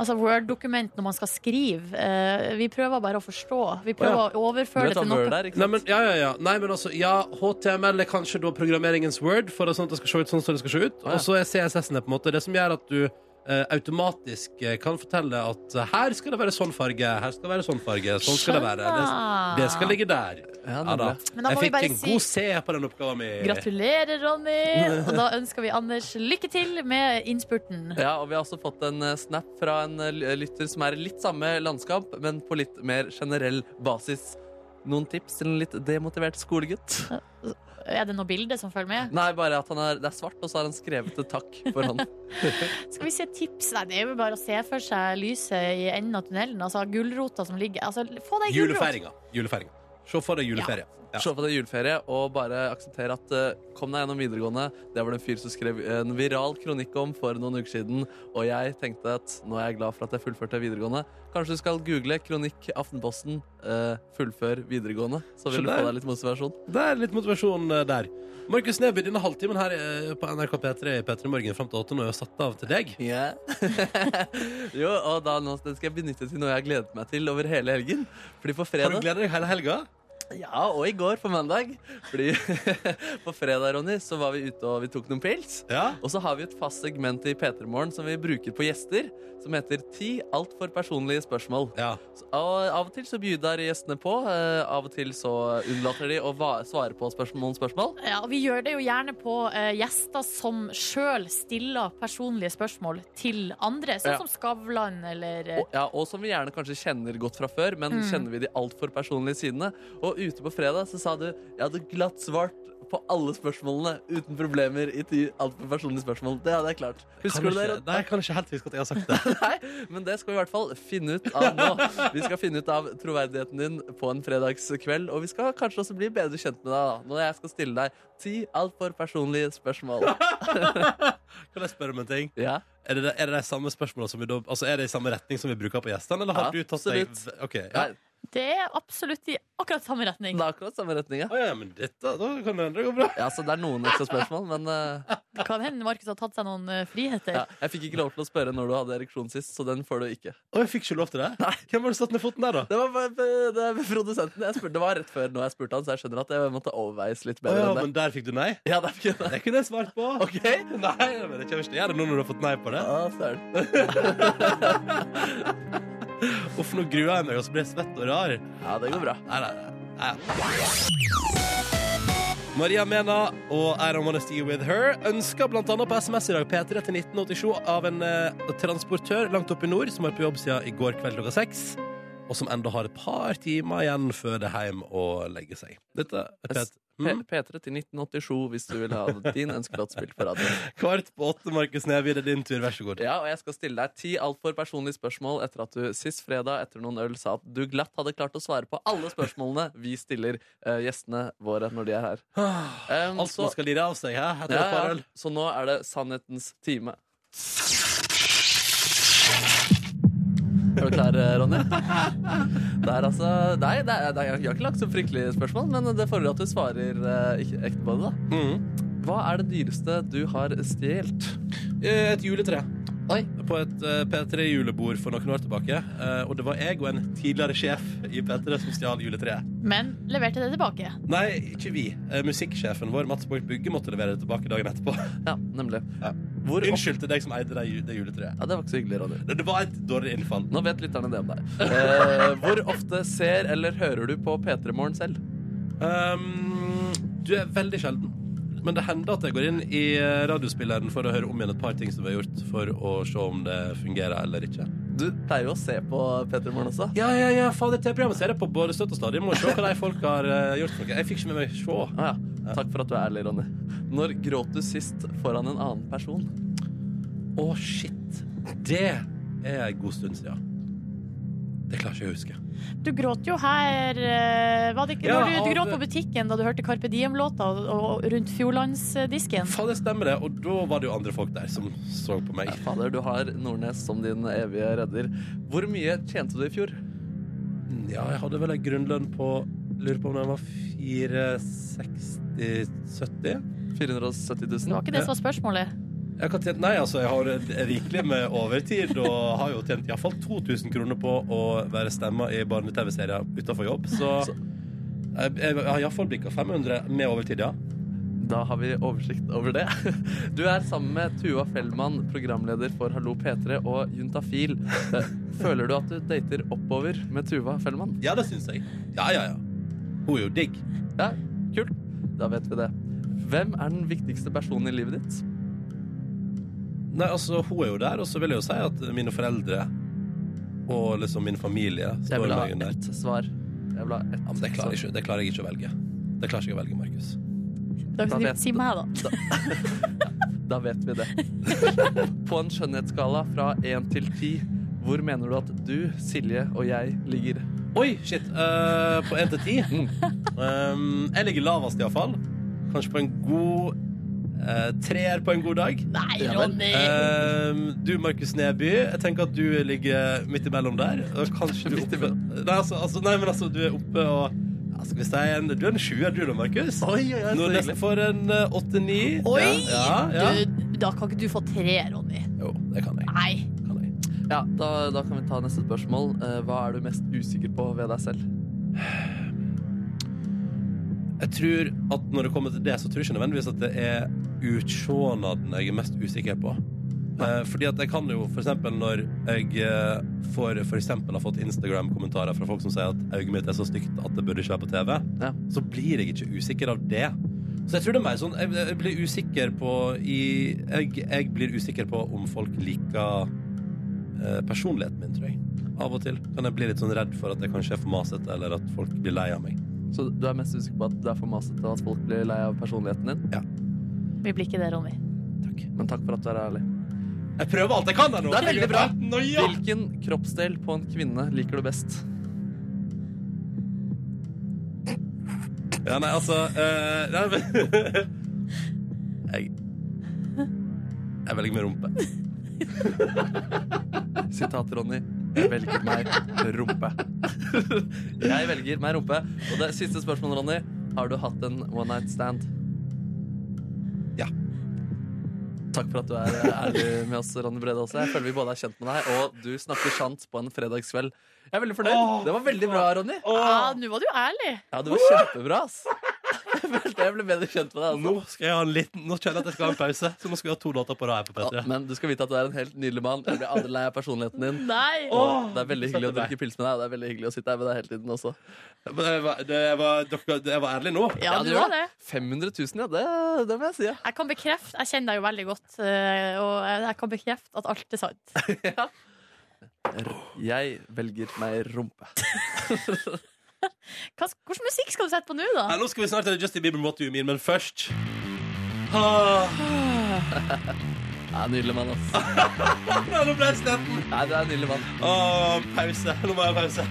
S2: Altså Word-dokument når man skal skrive. eh, Vi prøver bare å forstå. Vi prøver
S1: Å,
S2: å
S3: Du
S2: overføre
S3: vet
S2: det
S3: hva
S2: til
S3: word
S2: noe.
S3: er, ikke
S1: Nei,
S3: sant?
S1: men, ja, ja, ja. Nei, men altså, ja, HTML er kanskje da programmeringens word, for det er sånn at det skal se ut sånn som det skal se ut.
S3: ja.
S1: Og så er CSS-en det på en måte det som gjør at du eh, automatisk eh, kan fortelle at eh, her skal det være sånn farge, her skal det være sånn farge, sånn skal det være. Det,
S2: Skjønner.
S1: det skal ligge der.
S3: Ja,
S1: Ja, da.
S3: nemlig.
S2: Men da
S1: Jeg
S2: må vi
S1: fikk
S2: bare
S1: en
S2: si-
S1: god C på den oppgaven min.
S2: Gratulerer, Ronny! Og da ønsker vi Anders lykke til med innspurten.
S3: Ja, og vi har også fått en eh, snap fra en eh, lytter som er i litt samme landskap, men på litt mer generell basis. Noen tips til en litt demotivert skolegutt?
S2: Er det noe bilde som følger med?
S3: Nei, bare at han er, det er svart, og så har han skrevet et takk for hånd.
S2: Skal vi se tips? Nei, det er jo bare å se for seg lyset i enden av tunnelen. Altså gulrota som ligger Altså, få deg gulrot!
S1: Julefeiringa. Julefeiringa. Se for deg juleferie. Ja.
S3: Se på det juleferie og bare akseptere at eh, kom deg gjennom videregående. Det var det en fyr som skrev en viral kronikk om for noen uker siden. Og jeg tenkte at nå er jeg glad for at jeg fullførte videregående. Kanskje du skal google kronikk Aftenposten eh, 'fullfør videregående', så
S1: Se
S3: vil du
S1: der.
S3: få deg litt motivasjon.
S1: Det er litt motivasjon eh, der. Markus Neby, denne halvtimen her eh, på NRK P3 i P3 Morgen fram til åtte nå er jo satt av til deg.
S3: jo, og da nå, den skal jeg benytte til noe jeg har gledet meg til over hele helgen. Fordi på
S1: Har du
S3: fredag
S1: gledet deg hele helga?
S3: Ja, og i går på mandag. Fordi på fredag, Ronny, så var vi ute og vi tok noen pils.
S1: Ja.
S3: Og så har vi et fast segment i P3 Morgen som vi bruker på gjester, som heter Ti altfor personlige spørsmål.
S1: ja.
S3: Så- Og av og til så bjuder gjestene på, eh, av og til så unnlater de å va- svare på spørsmål, noen spørsmål.
S2: Ja, og vi gjør det jo gjerne på eh, gjester som sjøl stiller personlige spørsmål til andre. Sånn
S3: Ja.
S2: som Skavlan eller eh,
S1: Oh.
S3: Og, ja, og som vi gjerne kanskje kjenner godt fra før, men kjenner vi de altfor personlige sidene. Og ute på fredag så sa du jeg hadde glatt svart på alle spørsmålene uten problemer i ti altfor personlige spørsmål. Det hadde jeg klart. Husker
S1: Kan
S3: du det?
S1: ikke-
S3: Ron?
S1: Nei, jeg kan ikke helt huske at jeg har sagt det.
S3: Nei, men det skal vi i hvert fall finne ut av nå. Vi skal finne ut av troverdigheten din på en fredagskveld, og vi skal kanskje også bli bedre kjent med deg da, når jeg skal stille deg ti altfor personlige spørsmål.
S1: Kan jeg spørre om en ting?
S3: Ja,
S1: Er det, er det de samme spørsmålene som vi da Altså, er det i samme retning som vi bruker på gjestene, eller har
S3: Ja,
S1: du tatt deg
S3: absolutt.
S1: Ok, ja.
S3: Nei,
S2: Det er absolutt i akkurat samme
S3: det
S2: retning.
S3: er akkurat samme retning, ja.
S1: Å, ja, men dette, da kan det hende det går bra.
S3: Ja, så det er noen ekstra spørsmål, men eh,
S2: Det kan hende Markus har tatt seg noen eh, friheter.
S3: ja, jeg fikk ikke lov til å spørre når du hadde ereksjon sist, så den får du ikke.
S1: Å, jeg fikk ikke lov til det? Hvem har du satt ned foten der, da?
S3: Det var bare- det er produsenten. Jeg spurte, det var rett før når jeg spurte han, så jeg skjønner at jeg måtte overveies litt
S1: Å,
S3: bedre
S1: ja,
S3: enn det.
S1: men der fikk du nei?
S3: Ja, det er ikke det.
S1: Det kunne jeg svart på.
S3: Ok.
S1: Nei, men det kommer ikke til å gjøre det nå når du har fått nei på det.
S3: Ja, søren.
S1: Uff, nå gruer jeg meg, og så blir jeg svett og rar.
S3: Ja, det går bra.
S1: Nei, nei, nei. nei. Maria Mena og I Don't Wanna Stay With Her ønsker blant annet på SMS i dag P3 til 1987 av en eh, transportør langt oppe i nord som var på jobb siden i går kveld klokka seks, og som enda har et par timer igjen før det er hjem og legger seg. Dette er Hm? P3.
S3: P- P3 til 1987 hvis du vil ha din ønskelåt spilt på radio.
S1: Kvart på åtte, Markus Neby, det er din tur, vær så god.
S3: Ja, og jeg skal stille deg ti altfor personlige spørsmål etter at du sist fredag etter noen øl sa at du glatt hadde klart å svare på alle spørsmålene vi stiller eh, gjestene våre når de er her. Um,
S1: Alt man skal lire av seg, hæ? Etter et
S3: ja,
S1: par
S3: ja.
S1: øl.
S3: Så nå er det sannhetens time. Er du klar, eh, Ronny? Det er altså Nei, det er, det er, jeg har ikke lagt så fryktelige spørsmål, men det fordrer at du svarer eh, ikke ekte på det, da.
S1: Mhm.
S3: Hva er det dyreste du har stjålet?
S1: Eh, Et juletre.
S3: Oi.
S1: På et eh, P3-julebord for noen år tilbake. eh, Og det var jeg og en tidligere sjef i P3 som stjal juletreet.
S2: Men leverte det tilbake.
S1: Nei, ikke vi. Eh, Musikksjefen vår, Mats Borg Bugge, måtte levere det tilbake dagen etterpå.
S3: Ja, nemlig.
S1: Ja.
S3: Hvor opp...
S1: Unnskyld til deg som eide det, ju- det juletreet.
S3: Ja, det var ikke så hyggelig, Ronny.
S1: Det det var et dårlig innfall.
S3: Nå vet lytterne det om deg. Eh, hvor ofte ser eller hører du på P3 Morgen selv?
S1: Um, du er veldig sjelden. Men det hender at jeg går inn i eh, radiospilleren for å høre om igjen et par ting som vi har gjort, for å se om det fungerer eller ikke.
S3: Du pleier jo å se på P3 Morgen også.
S1: Ja, ja, ja, fader, det programmet ser jeg på både støtt og stadig. Må se hva de folk har eh, gjort. for noe. Jeg fikk ikke med meg se.
S3: Ah, ja. Takk for at du er ærlig, Ronny. Når gråt du sist foran en annen person?
S1: Å, shit. Det er en god stund siden. Det klarer ikke jeg å huske.
S2: Du gråt jo her eh, var det ikke,
S1: Ja,
S2: når du,
S1: av-
S2: du gråt på butikken da du hørte Carpe Diem-låta og, og rundt Fjordlandsdisken.
S1: Faen, det stemmer det. Og da var det jo andre folk der som så på meg.
S3: Ja, fader, du har Nordnes som din evige redder. Hvor mye tjente du i fjor?
S1: Ja, jeg hadde vel en grunnlønn på Lurer på om den var 460-70?
S3: 470
S2: Det
S3: 000?
S2: var ikke det som var spørsmålet.
S1: Jeg kan tjent, nei, altså, jeg har rikelig med overtid og har jo tjent iallfall 2000 kroner på å være stemma i barne-TV-serier utenfor jobb, så jeg, jeg har iallfall blikka 500 med overtid, ja.
S3: Da har vi oversikt over det. Du er sammen med Tuva Fellmann, programleder for Hallo P3 og Juntafil. Eh, Føler du at du dater oppover med Tuva Fellmann?
S1: Ja, det syns jeg. Ja, ja, ja. Hun er jo digg.
S3: Ja, kult. Da vet vi det. Hvem er den viktigste personen i livet ditt?
S1: Nei, altså, hun er jo der, og så vil jeg jo si at mine foreldre og liksom min familie
S3: Jeg
S1: står
S3: vil ha
S1: meg under.
S3: ett svar. Jeg vil ha ett.
S1: Ja, men det klarer, jeg ikke, det klarer jeg ikke å velge. Det klarer jeg ikke å velge, Markus.
S3: vet
S2: Dagsnytt, si
S3: du.
S2: meg, da.
S3: Da vet vi det. På en skjønnhetsskala fra én til ti, hvor mener du at du, Silje og jeg ligger?
S1: Oi, shit. eh, på én til ti? Um, jeg ligger lavest, iallfall. Kanskje på en god eh, treer på en god dag.
S2: Nei,
S3: Ja, men,
S2: Ronny!
S1: Um, du, Markus Neby, jeg tenker at du ligger midt imellom der. Og Kanskje du er
S3: Midt
S1: oppe nei, altså, altså, nei, men altså, du er oppe og ja, Skal vi si en Du er en sjuer, du da, Markus.
S3: Oi, oi,
S1: Nå er nesten for en eh, åtte-ni.
S2: Oi!
S1: Ja, ja, ja.
S2: Du, da kan ikke du få tre, Ronny.
S1: Jo, det kan jeg.
S2: Nei.
S1: Kan jeg.
S3: Ja, da, da kan vi ta neste spørsmål. Eh, Hva er du mest usikker på ved deg selv?
S1: Jeg tror at når det kommer til det, så tror jeg ikke nødvendigvis at det er utsjånaden jeg er mest usikker på. Eh, fordi at jeg kan jo for eksempel når jeg eh, får, for eksempel har fått Instagram-kommentarer fra folk som sier at øyet mitt er så stygt at det burde ikke være på TV,
S3: Ja.
S1: så blir jeg ikke usikker av det. Så jeg tror det er mer sånn Jeg, jeg blir usikker på i jeg, jeg blir usikker på om folk liker eh, personligheten min, tror jeg. Av og til kan jeg bli litt sånn redd for at jeg kanskje er for masete, eller at folk blir lei av meg.
S3: Så du er mest usikker på at du er for masete og at folk blir lei av personligheten din?
S2: Vi blir ikke det, Ronny.
S1: Takk.
S3: Men takk for at du er ærlig.
S1: Jeg prøver alt jeg kan her nå.
S3: Det er veldig bra.
S1: Nå, ja.
S3: Hvilken kroppsdel på en kvinne liker du best?
S1: ja, nei, altså eh, nei, men, Jeg Jeg velger med rumpe.
S3: Sitat Ronny. Jeg velger meg rumpe. Jeg velger meg rumpe. Og det siste spørsmålet, Ronny. Har du hatt en one night stand?
S1: Ja.
S3: Takk for at du er ærlig med oss, Ronny Brede også. Jeg føler vi både er kjent med deg, og du snakker sant på en fredagskveld. Jeg er veldig fornøyd. det var veldig bra, Ronny.
S2: Ah, Nå var du ærlig.
S3: Ja, du var kjempebra, ass. Jeg følte jeg ble bedre kjent med deg. Altså.
S1: Nå skal jeg ha en liten Nå kjenner jeg at jeg skal ha en pause, så nå skal vi ha to låter på rad her på
S3: Ja,
S1: P3.
S3: men du skal vite at du er en helt nydelig mann. Jeg blir aldri lei av personligheten din.
S2: Nei.
S3: Og det er veldig hyggelig å
S1: satte meg.
S3: drikke pils med deg, og det er veldig hyggelig å sitte her med deg hele tiden også.
S1: Men Jeg var, det, jeg var, dere, jeg var ærlig nå.
S2: Ja, du
S3: det
S2: var
S3: var
S2: det.
S3: 500 000, ja. Det, det må jeg si. Ja.
S2: Jeg kan bekrefte, jeg kjenner deg jo veldig godt, eh, og jeg kan bekrefte at alt er sant.
S3: Jeg velger meg rumpe.
S2: Hva, hvordan musikk skal du sette på nå,
S1: Nei,
S2: da?
S1: nå skal vi snart til Justin Bieber What Do You Mean, men først ah,
S3: Ja, nydelig mann, ass.
S1: Nå ble jeg sliten.
S3: Nei, det er en nydelig mann.
S1: Ah, pause. Nå må jeg ha pause.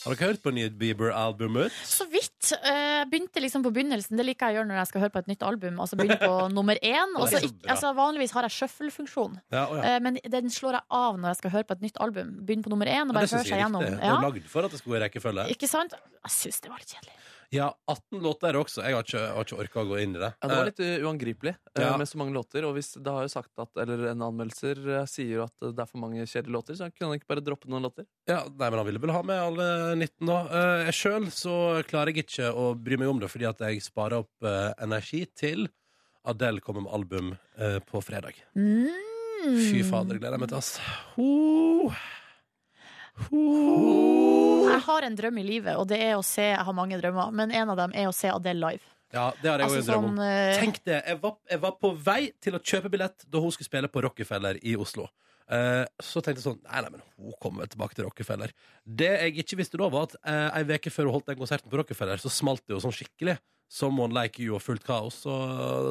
S1: Har dere hørt på nye Bieber-albumet?
S2: Så vidt. eh, Jeg begynte liksom på begynnelsen. Det liker jeg å gjøre når jeg skal høre på et nytt album. Altså begynne på nummer én. Og
S1: Det er så
S2: så ikke-
S1: bra.
S2: altså, vanligvis har jeg shuffle-funksjon,
S1: Ja, å ja.
S2: eh, men den slår jeg av når jeg skal høre på et nytt album. Begynne på nummer én og
S1: Ja,
S2: bare
S1: det
S2: høre
S1: synes
S2: seg
S1: jeg er
S2: gjennom.
S1: riktig. Det er
S2: Ja.
S1: lagd for at det skal gå i rekkefølge.
S2: Ikke sant? Jeg syns det var litt kjedelig.
S1: Ja, 18 låter også. Jeg har ikke, jeg har ikke orka å gå inn i det.
S3: Ja, det var litt uh, uangripelig uh,
S1: Ja.
S3: med så mange låter. Og hvis det har jo sagt at, eller en anmeldelser uh, sier jo at uh, det er for mange kjedelige låter, så kunne han ikke bare droppe noen låter.
S1: Eh, ja, nei, men han ville vel ha med alle 19 da. Eh, Jeg sjøl så klarer jeg ikke å bry meg om det, fordi at jeg sparer opp eh, energi til Adele kommer med album eh, på fredag.
S2: Mm.
S1: Fy fader, gleder jeg meg til, ass. Ho. Ho.
S2: Jeg har en drøm i livet, og det er å se Jeg har mange drømmer, men en av dem er å se Adele live.
S1: Ja, det har jeg
S2: Altså
S1: òg en drøm om.
S2: sånn eh,
S1: Tenk det, jeg var, jeg var på vei til å kjøpe billett da hun skulle spille på Rockefeller i Oslo. Eh, så tenkte jeg sånn Nei, nei, men hun kommer vel tilbake til Rockefeller. Det jeg ikke visste da, var at eh, ei uke før hun holdt den konserten på Rockefeller, så smalt det jo sånn skikkelig. Someone like you og fullt kaos. Så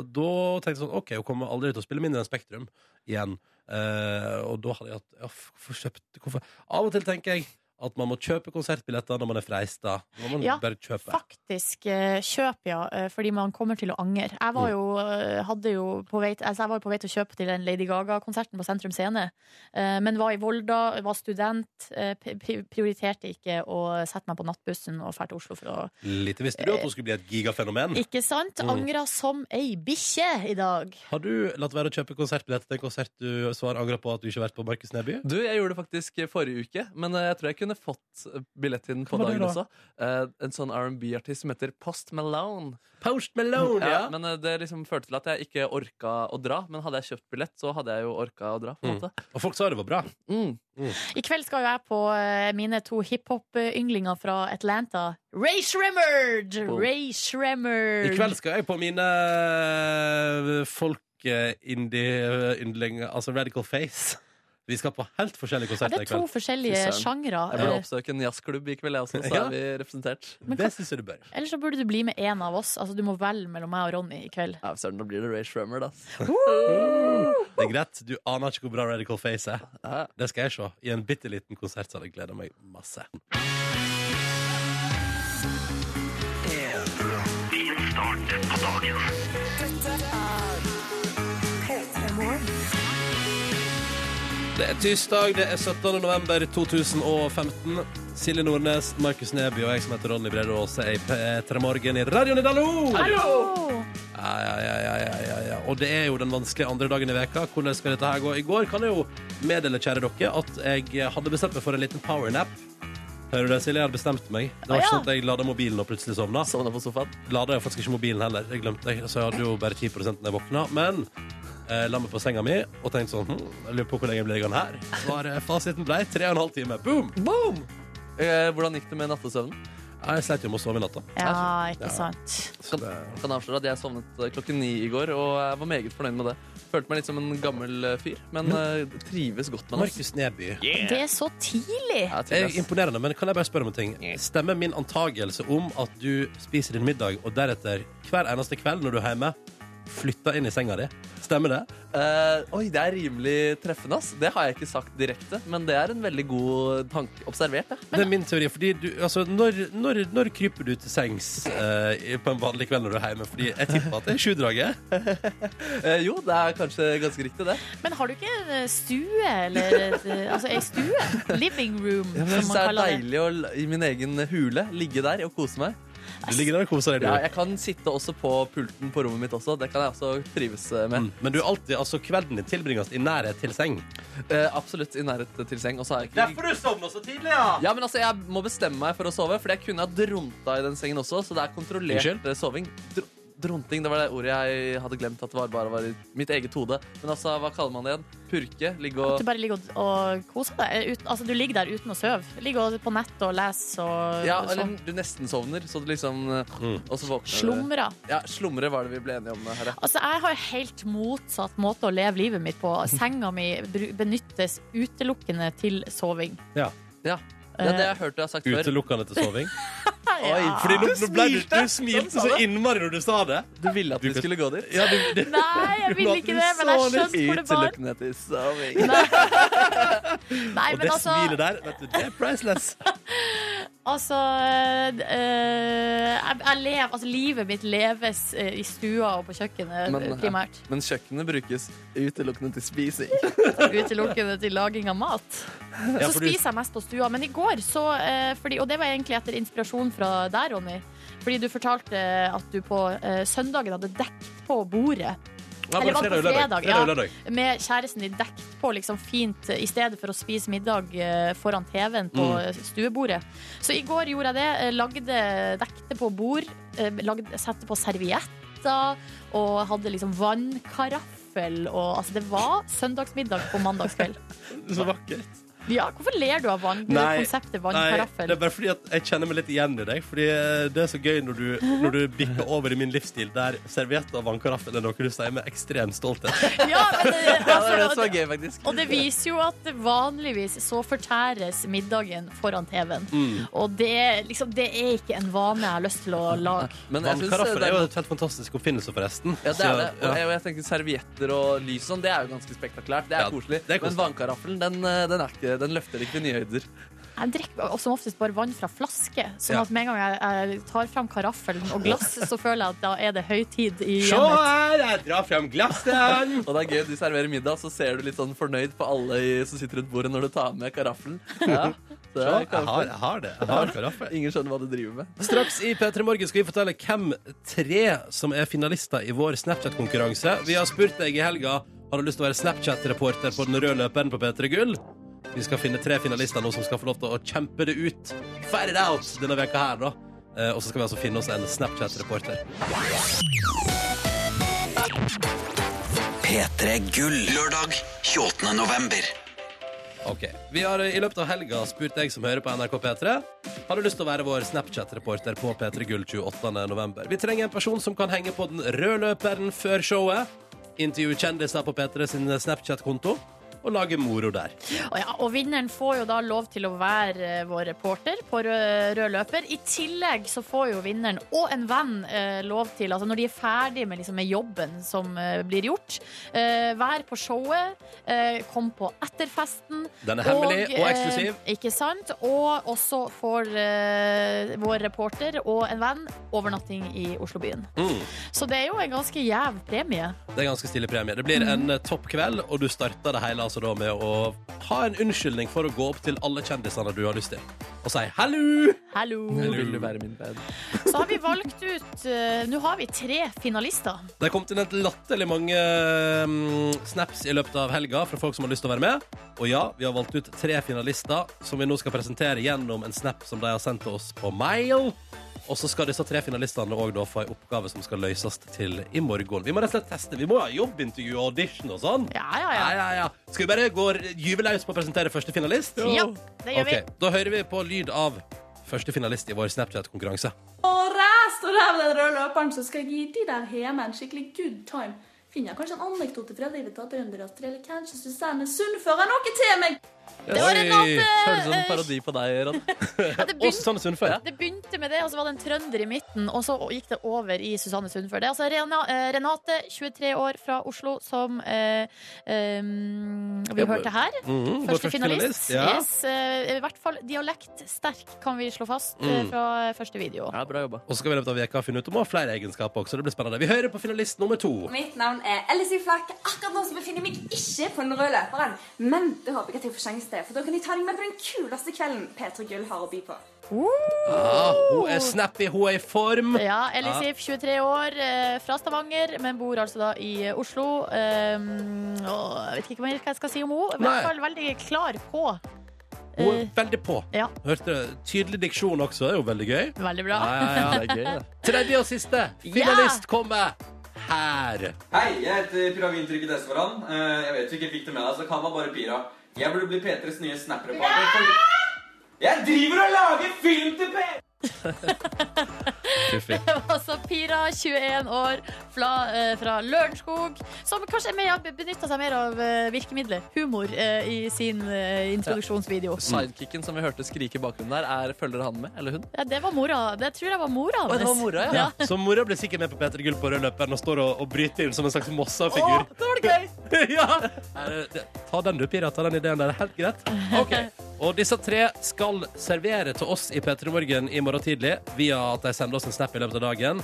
S1: da tenkte jeg sånn OK, hun kommer aldri til å spille mindre enn Spektrum igjen. Eh, og da hadde jeg hatt ja, f- Hvorfor kjøpte hvorfor? Av og til tenker jeg at man må kjøpe konsertbilletter når man er freista. Når man
S2: Ja,
S1: bare kjøper.
S2: Faktisk eh, kjøp, ja, eh, fordi man kommer til å angre. Jeg
S1: Mm.
S2: var jo, eh, hadde jo på vei, altså jeg var jo på vei til å kjøpe til den Lady Gaga-konserten på Sentrum Scene, eh, men var i Volda, var student, eh, pri- pri- prioriterte ikke å sette meg på nattbussen og dra til Oslo for å
S1: Lite visste du at
S2: Eh,
S1: hun skulle bli et gigafenomen.
S2: Ikke sant?
S1: Mm.
S2: Angra som ei bikkje i dag.
S1: Har du latt være å kjøpe konsertbillett til en konsert du svar angrer på at du ikke har vært på Markus Neby?
S3: Du, jeg gjorde det faktisk forrige uke, men uh, jeg tror jeg kunne kunne fått eh, billett til den på
S1: Hva var det
S3: dagen
S1: da?
S3: også. Eh, en sånn R&B-artist som heter Post Malone.
S1: Post Malone, ja.
S3: Ja, men eh, det liksom førte til at jeg ikke orka å dra. Men hadde jeg kjøpt billett, så hadde jeg jo orka å dra. på en
S1: Mm.
S3: måte.
S1: Og folk sa det var bra.
S3: Mm.
S2: I kveld skal jo jeg på eh, mine to hiphop-ynglinger fra Atlanta. Ray Shremmerd!
S3: Boom.
S1: I
S2: Ray Shremmerd.
S1: kveld skal jeg på mine eh, folk eh, indie yndlinger, altså Radical Face. Vi skal på helt forskjellige
S2: ja, det
S1: konserter
S2: er
S1: i
S2: to
S1: kveld.
S2: forskjellige
S3: Fy søren.
S2: sjangre. Eh,
S3: Jeg burde oppsøke en jazzklubb i kveld, jeg også, så
S1: Ja.
S3: er vi representert.
S1: Det syns jeg du bør.
S2: Eller så burde du bli med en av oss. Altså, du må velge mellom meg og Ronny i kveld.
S3: Ja, Søren, nå blir det Ray Shrummer, da.
S1: Det er greit. Du aner ikke hvor bra Radical Face er.
S3: Ja.
S1: Det skal jeg se i en bitte liten konsert, så jeg gleder meg masse. Det er tirsdag, det er 17. november 2015. Silje Nordnes, Markus Neby og jeg som heter Ronny Brede Aase er i P3 Morgen i radioen i dag. Hallo!
S2: Hallo!
S1: Ja, ja, ja, ja, ja, ja, ja. Og det er jo den vanskelige andre dagen i veka. Hvordan skal dette her gå? I går kan jeg jo meddele, kjære dere, at jeg hadde bestemt meg for en liten powernap. Hører du det, Silje? Jeg hadde bestemt meg. Det var
S2: Å,
S1: ikke
S2: ja.
S1: sånn at jeg lada mobilen og plutselig sovna.
S3: Sovna på sofaen.
S1: Lada jeg faktisk ikke mobilen heller. Jeg glemte det, så jeg hadde jo bare 10 da jeg våkna. Men eh, la meg på senga mi og tenkte sånn hm, Jeg lurer på hvor lenge jeg blir liggende her. Var eh, fasiten blei tre og en halv time. Boom!
S3: Boom! Eh, hvordan gikk det med nattesøvnen?
S1: Ja, Jeg sleit jo med å sove i natta.
S2: Ja, ikke sant.
S1: Så det
S3: Kan avsløre at Jeg sovnet eh, klokken ni i går og jeg var meget fornøyd med det. Følte meg litt som en gammel eh, fyr, men eh, trives godt med det.
S1: Markus Eh, Neby.
S2: Det er så tidlig!
S3: Ja,
S1: Det er
S3: trives.
S1: imponerende, men kan jeg bare spørre om en ting? Stemmer min antagelse om at du spiser din middag, og deretter hver eneste kveld når du er hjemme, flytter inn i senga di? Stemmer det?
S3: Eh, oi, det er rimelig treffende. ass Det har jeg ikke sagt direkte, men det er en veldig god tanke. Observert, ja.
S1: Det er min teori. Fordi du, altså, når, når, når kryper du til sengs eh, i- på en vanlig kveld når du er hjemme? Fordi jeg tipper at det er sjudraget.
S3: Eh, jo, det er kanskje ganske riktig, det.
S2: Men har du ikke en eh, stue, eller et, eh, Altså ei stue? Living room,
S3: Jeg
S2: som
S3: synes det
S2: man
S3: er
S2: kaller det.
S3: deilig å l- i min egen hule ligge der og kose meg.
S1: Du ligger der og koser deg, du.
S3: Ja, jeg kan sitte også på pulten på rommet mitt også. Det kan jeg også trives eh, med.
S1: Mm. Men du er alltid, altså kvelden din tilbringes i nærhet til seng.
S3: Eh, absolutt i nærhet til seng. Og så har jeg ikke
S1: du sovner så tidlig, ja!
S3: ja, men altså, Jeg må bestemme meg for å sove, for jeg kunne ha dronta i den sengen også. Så det er kontrollert
S1: Unnskyld?
S3: eh, soving. Dr dronting det var det ordet jeg hadde glemt at var bare var i mitt eget hode. Men altså, hva kaller man det igjen? Purke? Ligge
S2: At
S3: og
S2: du bare ligger og, og koser deg? eh, Uten, altså, du ligger der uten å sove? Ligger og- på nettet og leser og
S3: Ja,
S2: og
S3: eller
S2: sånn.
S3: du nesten sovner, så du liksom eh,
S1: Mm.
S3: Og så våkner du.
S2: Slumrer.
S3: Ja, slumre var det vi ble enige om her, ja.
S2: Altså, jeg har helt motsatt måte å leve livet mitt på. Senga mi bru- benyttes utelukkende til soving.
S3: ja. Ja, det har jeg hørt du har sagt før.
S1: Utelukkende til soving.
S3: Oi,
S1: Fordi nå, nå ble du,
S3: smilte.
S1: du smilte så
S2: Sånn,
S3: sa det.
S1: innmari når du sa det.
S3: Du ville at
S1: Du
S3: vi
S1: kan-
S3: skulle gå dit?
S1: Ja, du, du,
S2: Nei, jeg vil ikke det, men jeg skjønte hvor det var.
S3: Utelukkende til soving.
S2: Nei,
S1: og
S2: men
S1: det
S2: altså,
S1: smilet der, vet du, det er priceless.
S2: altså eh, jeg, jeg lever, altså, Livet mitt leves eh, i stua og på kjøkkenet
S3: Men,
S2: eh,
S3: ja.
S2: primært.
S3: Men kjøkkenet brukes utelukkende til spising.
S2: Altså, Utelukkende til laging av mat.
S1: Ja,
S2: Så
S1: for du-
S2: spiser jeg mest på stua. Men i går, så eh, fordi, Og det var egentlig etter inspirasjon fra deg, Ronny. Fordi du fortalte at du på eh, søndagen hadde dekt på bordet.
S1: Ja,
S2: Eller var det på
S1: og lørdag.
S2: fredag,
S1: Fredag og
S2: ja.
S1: lørdag.
S2: med kjæresten din dekt på liksom fint i stedet for å spise middag eh, foran TV-en på
S1: Mm.
S2: eh, stuebordet. Så i går gjorde jeg det. eh, Lagde, dekte på bord, eh, lagde, sette på servietter og hadde liksom vannkaraffel og altså det var søndagsmiddag på mandagskveld.
S1: Så vakkert.
S2: Ja, hvorfor ler du av vann? Det
S1: Nei,
S2: konseptet
S1: Nei, det
S2: vannkaraffel.
S1: er bare fordi at jeg kjenner meg litt igjen i deg. Fordi eh, det er så gøy når du, når du bikker over i min livsstil, der servietter og vannkaraffel er noe du sier med ekstrem stolthet.
S2: Ja, men, eh,
S3: Ja, det var det
S2: altså,
S3: som var
S2: og,
S3: gøy, faktisk.
S2: og det viser jo at vanligvis så fortæres middagen foran TV-en.
S1: Mm.
S2: Og det, liksom, det er ikke en vane jeg har lyst til å lage.
S3: Men jeg synes
S1: Vannkaraffel
S3: det
S1: er jo
S3: er,
S1: et helt fantastisk oppfinnelse, forresten.
S3: ja, det er det.
S1: Så,
S3: Og
S1: ja.
S3: jeg, og jeg tenker Servietter og lys og sånn, det er jo ganske spektakulært. Det er
S1: Ja,
S3: koselig.
S1: det er koselig.
S3: Men vannkaraffelen, den, eh, den, er ikke, den løfter ikke til nye høyder.
S2: Jeg drikker som oftest bare vann fra flaske. Sånn
S1: Ja.
S2: at med en gang jeg, jeg tar fram karaffelen og glass, så føler jeg at da er det høytid i
S1: Se
S2: hjemmet.
S1: her, jeg drar frem glassene!
S3: Og det er gøy, du serverer middag, så ser du litt sånn fornøyd på alle i- som sitter rundt bordet når du tar med karaffelen. Ja, så det
S1: Jeg
S3: er
S1: har,
S3: karaffel.
S1: jeg har det. Jeg har karaffel.
S3: Ingen skjønner hva du driver med.
S1: Straks i P3 Morgen skal vi fortelle hvem tre som er finalister i vår Snapchat-konkurranse. Vi har spurt deg i helga har du lyst til å være Snapchat-reporter på den røde løperen på P3 Gull. Vi skal finne tre finalister nå som skal få lov til å kjempe det ut. Fight it out denne veka her, da. Eh, Og så skal vi altså finne oss en Snapchat-reporter.
S7: P3 Gull. Lørdag 28. november.
S1: Ok, vi har eh, i løpet av helga spurt deg som hører på NRK P3 Har du lyst til å være vår Snapchat-reporter på P3 Gull 28. november Vi trenger en person som kan henge på den røde løperen før showet Intervjue kjendiser på P3 sin Snapchat-konto Og lage moro der
S2: Og, ja, og vinneren får jo da lov til å være eh, vår reporter på rød, rød løper. I tillegg så får jo vinneren og en venn eh, lov til, altså når de er ferdig med, liksom, med jobben som eh, blir gjort, eh, være på showet, eh, kom på etterfesten.
S1: Den er hemmelig og eksklusiv
S2: Eh, ikke sant? Og også får eh, vår reporter og en venn overnatting i Oslobyen.
S1: mm,
S2: Så det er jo en ganske jæv premie.
S1: Det er ganske stille premie Det blir en eh, topp kveld Og du starter det hele altså da med å Ha en unnskyldning for å gå opp til alle kjendisene du har lyst til Og si hallo
S2: Hallo!
S3: Vil du være min venn?
S2: Så har vi valgt ut eh, Nå har vi tre finalister.
S1: Det er kommet inn et latterlig mange mm, snaps i løpet av helga fra folk som har lyst til å være med. Og ja, vi har valgt ut tre finalister som vi nå skal presentere gjennom en snap som de har sendt til oss på mail. Og så skal disse tre finalistene òg da få ei oppgave som skal løses til i morgen. Vi må rett og slett teste. Vi må ha jobbintervju og audition og sånn.
S2: Ja, ja, ja.
S1: Ja, ja, ja. Skal vi bare gå gyve løs på å presentere første finalist?
S2: Ja, det gjør
S1: Ok, Da hører vi på lyd av første finalist i vår Snapchat-konkurranse.
S8: Og jeg står her ved den røde løperen, så skal jeg gi de der hjemme en skikkelig good time. Finner jeg kanskje en anekdote fra livet til Trønderastre, eller kanskje Susanne Sund fører noe til meg?
S2: Det var en
S8: eh,
S1: Oi.
S2: annen,
S3: Høres ut som en parodi på deg, Ron.
S2: ja, det,
S1: Og
S2: begynte,
S1: Susanne Sundfør.
S2: det begynte med det, og så var det en trønder i midten, og så gikk det over i Susanne Sundfør. Det er altså Rena, eh, Renate, 23 år fra Oslo, som eh, eh, vi hørte her.
S1: Mhm, vår
S2: Første finalist.
S1: Ja.
S2: Yes, eh, I hvert fall dialektsterk, kan vi slå fast, eh,
S1: Mm.
S2: fra første video.
S3: Ja, bra jobba.
S1: Og så skal vi i løpet av veka finne ut om hun har flere egenskaper også. Det blir spennende. Vi hører på finalist nummer to.
S9: Mitt navn er Elsie Flakk. Akkurat nå så befinner jeg meg ikke på den røde løperen. Men det håper jeg at jeg får sjanse til, for da kan de ta deg med på den kuleste kvelden P3 Gull har å by på.
S1: Ah, hun er snappy, hun er i form.
S2: Ja, Ellie Sif, 23 år, eh, fra Stavanger, men bor altså da i eh, Oslo. Eh, og jeg vet ikke mer hva jeg skal si om henne. I
S1: Nei.
S2: hvert fall veldig klar på.
S1: Hun er
S2: Eh,
S1: veldig på.
S2: ja.
S1: Hørte du? Tydelig diksjon også. Det er jo veldig gøy.
S2: Veldig bra.
S1: Ja, ja, ja.
S3: Det er gøy, det.
S1: Tredje og siste finalist kommer her.
S10: Hei, jeg heter Piravin Trygge Desvaran. Eh, Jeg vet du ikke fikk det med deg, så kall meg bare Pira. Jeg burde bli P3s nye snapper-partner. for- Jeg driver og lager film til P3!
S1: Fiffig.
S2: Det var altså Pira, 21 år, fra, eh, fra Lørenskog, som kanskje benytta seg mer av eh, virkemidlet humor eh, i sin eh, introduksjonsvideo.
S3: Sidekicken som vi hørte skrike i bakgrunnen der, er følger han med, eller hun?
S2: Ja, det var mora. Det tror jeg var mora
S3: Å, det var mora, ja.
S1: Ja. Så mora blir sikkert med på Peter Gull på rød løper og står og, og bryter inn som en slags Mossa-figur.
S3: det var det gøy!
S1: ja. Eh, det- Ta den du, Pira. Ta den ideen der. Helt greit. Ok. Og disse tre skal servere til oss i P3 Morgen i morgen tidlig via at de sender oss en snap i løpet av dagen.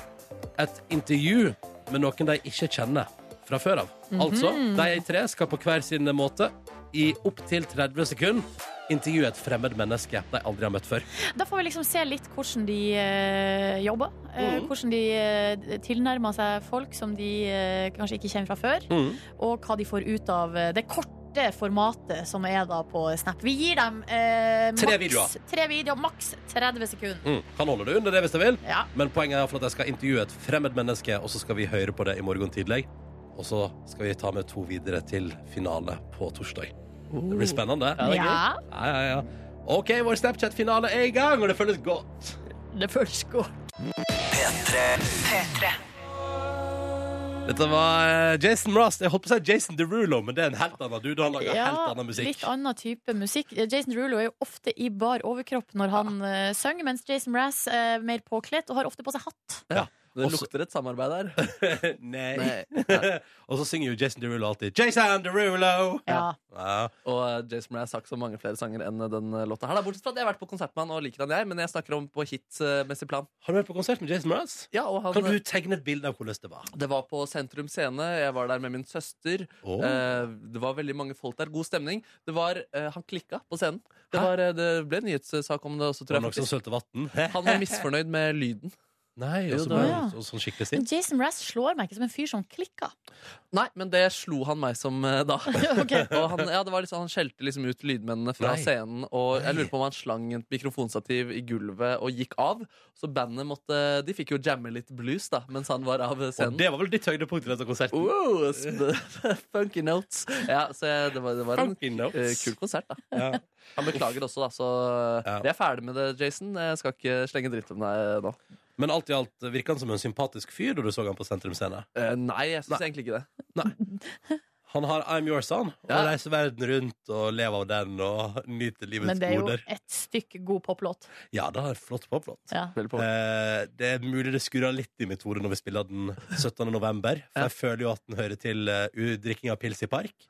S1: Et intervju med noen de ikke kjenner fra før av.
S3: Mhm.
S1: Altså, de tre skal på hver sin måte i opptil 30 sekunder intervjue et fremmed menneske de aldri har møtt før.
S2: Da får vi liksom se litt hvordan de eh, jobber. eh,
S3: Mhm.
S2: Hvordan de eh, tilnærmer seg folk som de eh, kanskje ikke kjenner fra før.
S3: Mm.
S1: Mhm.
S2: Og hva de får ut av eh, det korte formatet som er da på Snap. Vi gir dem eh,
S1: Tre
S2: maks,
S1: videoer.
S2: tre videoer, maks 30 sekunder.
S1: Mm. Kan holde det under det hvis de vil.
S2: Ja.
S1: Men poenget er i hvert fall at jeg skal intervjue et fremmed menneske, og så skal vi høre på det i morgen tidlig. Og så skal vi ta med to videre til finale på torsdag. Det blir spennende.
S3: Ja, det er
S2: Oh.
S3: gøy.
S2: Ja,
S1: Ja, ja, ja. OK, vår Snapchat-finale er i gang, og det føles godt.
S2: det føles godt.
S1: Dette var eh, Jason Mraz. Jeg holdt på å si Jason Derulo, men det er en helt annen dude. Han lager helt annen musikk.
S2: litt annen type musikk. Jason Rulo er jo ofte i bar overkropp når han eh, synger, mens Jason Mraz er mer påkledd og har ofte på seg hatt.
S3: Det
S1: Også-
S3: lukter et samarbeid der.
S1: Nei.
S3: Nei.
S1: og så synger jo Jason Derulo alltid Jason Derulo!
S2: Ja.
S1: Ja.
S3: Og eh, Jason Mraz har ikke så mange flere sanger enn eh, den eh, låta her. Da. Bortsett fra at jeg har vært på konsert med han og liker han jeg, men jeg snakker om på hitmessig plan.
S1: Har du vært på konsert med Jason Mraz?
S3: Ja, og han, eh,
S1: Kan du tegne et bilde av hvordan det
S2: Eh,
S1: var?
S3: Det var på Sentrum Scene. Jeg var der med min søster.
S1: Åh.
S3: Eh, det var veldig mange folk der. God stemning. Det var, eh, han klikka på scenen. Det, var, eh, det ble en nyhetssak om det også, tror
S1: Var det noe
S3: jeg.
S1: som
S3: faktisk.
S1: sølte vann?
S3: Han var misfornøyd med lyden.
S1: Nei, og så ble
S3: Jo, det-
S1: han så- sånn skikkelig
S2: Men
S1: sint.
S2: Jason Mraz slår meg ikke som en fyr som klikker.
S3: Nei, men det slo han meg som eh, da. Og han, ja, det var liksom, han skjelte liksom ut lydmennene fra
S1: Nei.
S3: scenen. Og jeg lurer på om han slang et mikrofonstativ i gulvet og gikk av. Så bandet måtte De fikk jo jamme litt blues da mens han var av
S1: Og
S3: scenen.
S1: det var vel ditt høydepunkt i denne konserten?
S3: Wow, sp- funky notes. Ja, så jeg, det, var, det var en
S1: Funky notes.
S3: eh, kul konsert, da.
S1: Ja.
S3: Han beklager også, da. Så
S1: Ja.
S3: vi er ferdig med det, Jason. Jeg skal ikke slenge dritt om deg eh, nå.
S1: Men alt i alt virka han som en sympatisk fyr da du så han på Sentrum Scene.
S3: Eh, nei, jeg syns egentlig ikke det.
S1: Han har I'm Your Son og
S3: Ja.
S1: reiser verden rundt og lever av den og nyter livets
S2: Men det er jo
S1: goder.
S2: et stykke god poplåt.
S1: Ja, det er flott poplåt.
S2: Ja.
S3: Veldig på.
S1: Eh, det er mulig det skurrer litt i mitt hode når vi spiller den 17. november. For
S3: Ja.
S1: jeg føler jo at den hører til eh, u- drikking av pils i park.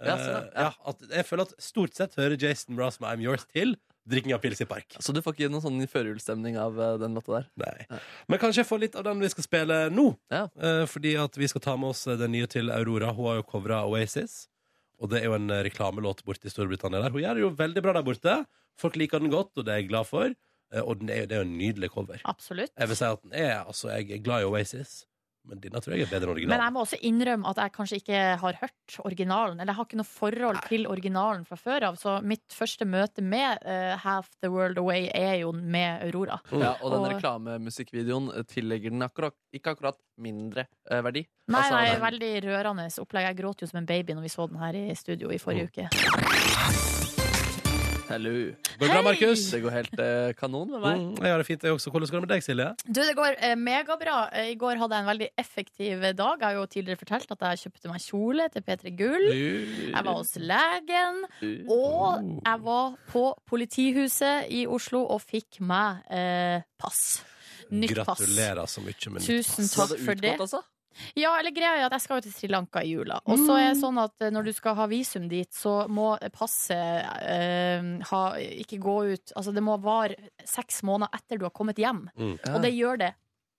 S1: Eh,
S3: Ja, sånn,
S1: ja,
S3: ja.
S1: at, jeg føler at stort sett hører Jason Mraz med I'm Yours til drikking av pils i park.
S3: Så du får ikke noen sånn førjulsstemning av eh, den låta der?
S1: Nei. Men kanskje jeg får litt av den vi skal spille nå.
S3: Ja.
S1: Eh, fordi at vi skal ta med oss eh, den nye til Aurora. Hun har jo covra Oasis. Og det er jo en eh, reklamelåt borte i Storbritannia der. Hun gjør det jo veldig bra der borte. Folk liker den godt, og det er jeg glad for. Eh, og den er, det er jo en nydelig cover.
S2: Absolutt.
S1: Jeg vil si at den er, altså, jeg er glad i Oasis, men denne tror jeg er bedre enn
S2: Men jeg
S1: originalen.
S2: må også innrømme at jeg kanskje ikke har hørt originalen. Eller jeg har ikke noe forhold til originalen fra før av. Så mitt første møte med eh, Half the World Away er jo med Aurora.
S3: Ja, og den
S2: Og-
S3: reklamemusikkvideoen eh, tillegger den akkurat, ikke akkurat mindre eh, verdi.
S2: Nei,
S3: Altså,
S2: nei,
S3: den-
S2: veldig rørende opplegg. Jeg gråt jo som en baby når vi så den her i studio i
S1: Mm.
S2: forrige uke.
S3: Hello.
S1: Går det bra, Markus?
S3: Det går helt eh, kanon med meg.
S1: Mm, jeg har det fint, jeg også. Hvordan går det med deg, Silje?
S2: Du, det går eh, megabra. Eh, I går hadde jeg en veldig effektiv eh, dag. Jeg har jo tidligere fortalt at jeg kjøpte meg kjole til P3 Gull. Jeg var hos legen,
S1: Oh.
S2: og jeg var på politihuset i Oslo og fikk meg eh, pass. Nytt pass.
S1: Gratulerer så mye med nytt
S2: Tusen
S1: pass.
S3: Så
S2: takk
S3: det
S2: for det.
S3: utgått, altså?
S2: Ja, eller greia er at jeg skal jo til Sri Lanka i jula. Og så
S1: Mm.
S2: er det sånn at eh, når du skal ha visum dit, så må passet eh, ha, ikke gå ut Altså det må vare seks måneder etter du har kommet hjem.
S1: Mm.
S2: Og det gjør det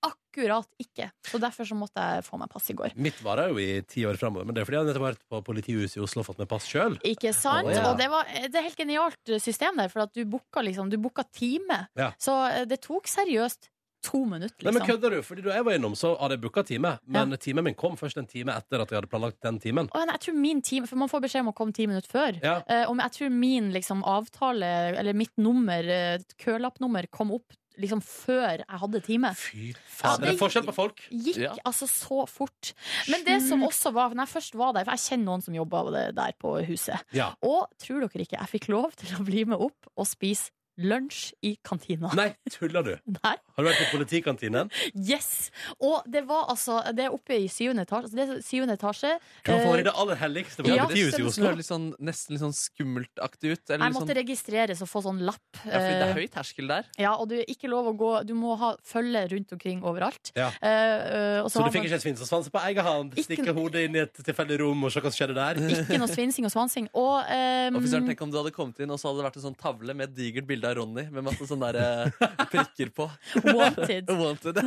S2: akkurat ikke. Så derfor så måtte jeg få meg pass i går.
S1: Mitt varer jo i ti år framover, men det er fordi jeg nettopp har vært på politihuset i Oslo og fått meg pass sjøl.
S2: Ikke sant?
S1: Å, ja.
S2: Og det var eh, det er helt genialt system der, for at du booka liksom, du booka time.
S1: Ja.
S2: Så eh, det tok seriøst to minutter,
S1: Nei, men
S2: liksom.
S1: kødder du? Fordi da jeg var innom, så hadde jeg booka time, men timen min kom først en time etter at jeg hadde planlagt den timen.
S2: Og jeg tror min time, for Man får beskjed om å komme ti minutter før.
S1: Ja.
S2: Eh, og jeg tror min liksom, avtale, eller mitt nummer, eh, kølappnummer, kom opp liksom, før jeg hadde time.
S1: Fy
S2: Ja,
S1: faen. Det er
S2: det-
S1: forskjell på folk.
S2: Gikk
S3: Ja.
S2: altså så fort. Men det som også var, når jeg først var der, for jeg kjenner noen som jobber der på huset,
S1: Ja.
S2: og tror dere ikke, jeg fikk lov til å bli med opp og spise lunsj i kantina.
S1: Nei, tuller du?
S2: Nei.
S1: Har du vært på politikantinen?
S2: Eh, Yes! Og det var altså Det er oppe i syvende etasje. Altså, det er syvende etasje.
S1: Du har
S2: Eh,
S1: fått det aller helligste på
S2: Ja,
S1: politihuset i
S3: Det
S1: Oslo.
S3: høres litt sånn, nesten litt sånn skummeltaktig ut. Eller
S2: Eh, jeg
S3: litt sånn,
S2: måtte registreres og få sånn lapp.
S3: ja, fordi det
S2: eh,
S3: er høy terskel der.
S2: Ja, og du er ikke lov å gå Du må ha følge rundt omkring overalt.
S1: Ja.
S2: Eh, eh, og
S1: Så
S2: har
S1: du fikk
S2: man-
S1: ikke en svinsesvanse på egen hånd?
S2: Ikke-
S1: Stikke hodet inn i et tilfeldig rom og se hva som skjedde der?
S2: ikke noe svinsing og svansing. Og, eh,
S3: Offiseren, tenk om du hadde kommet inn, og så hadde det vært en sånn tavle med et digert bilde av Ronny med masse sånne der, eh, prikker på.
S2: wanted.
S3: Wanted.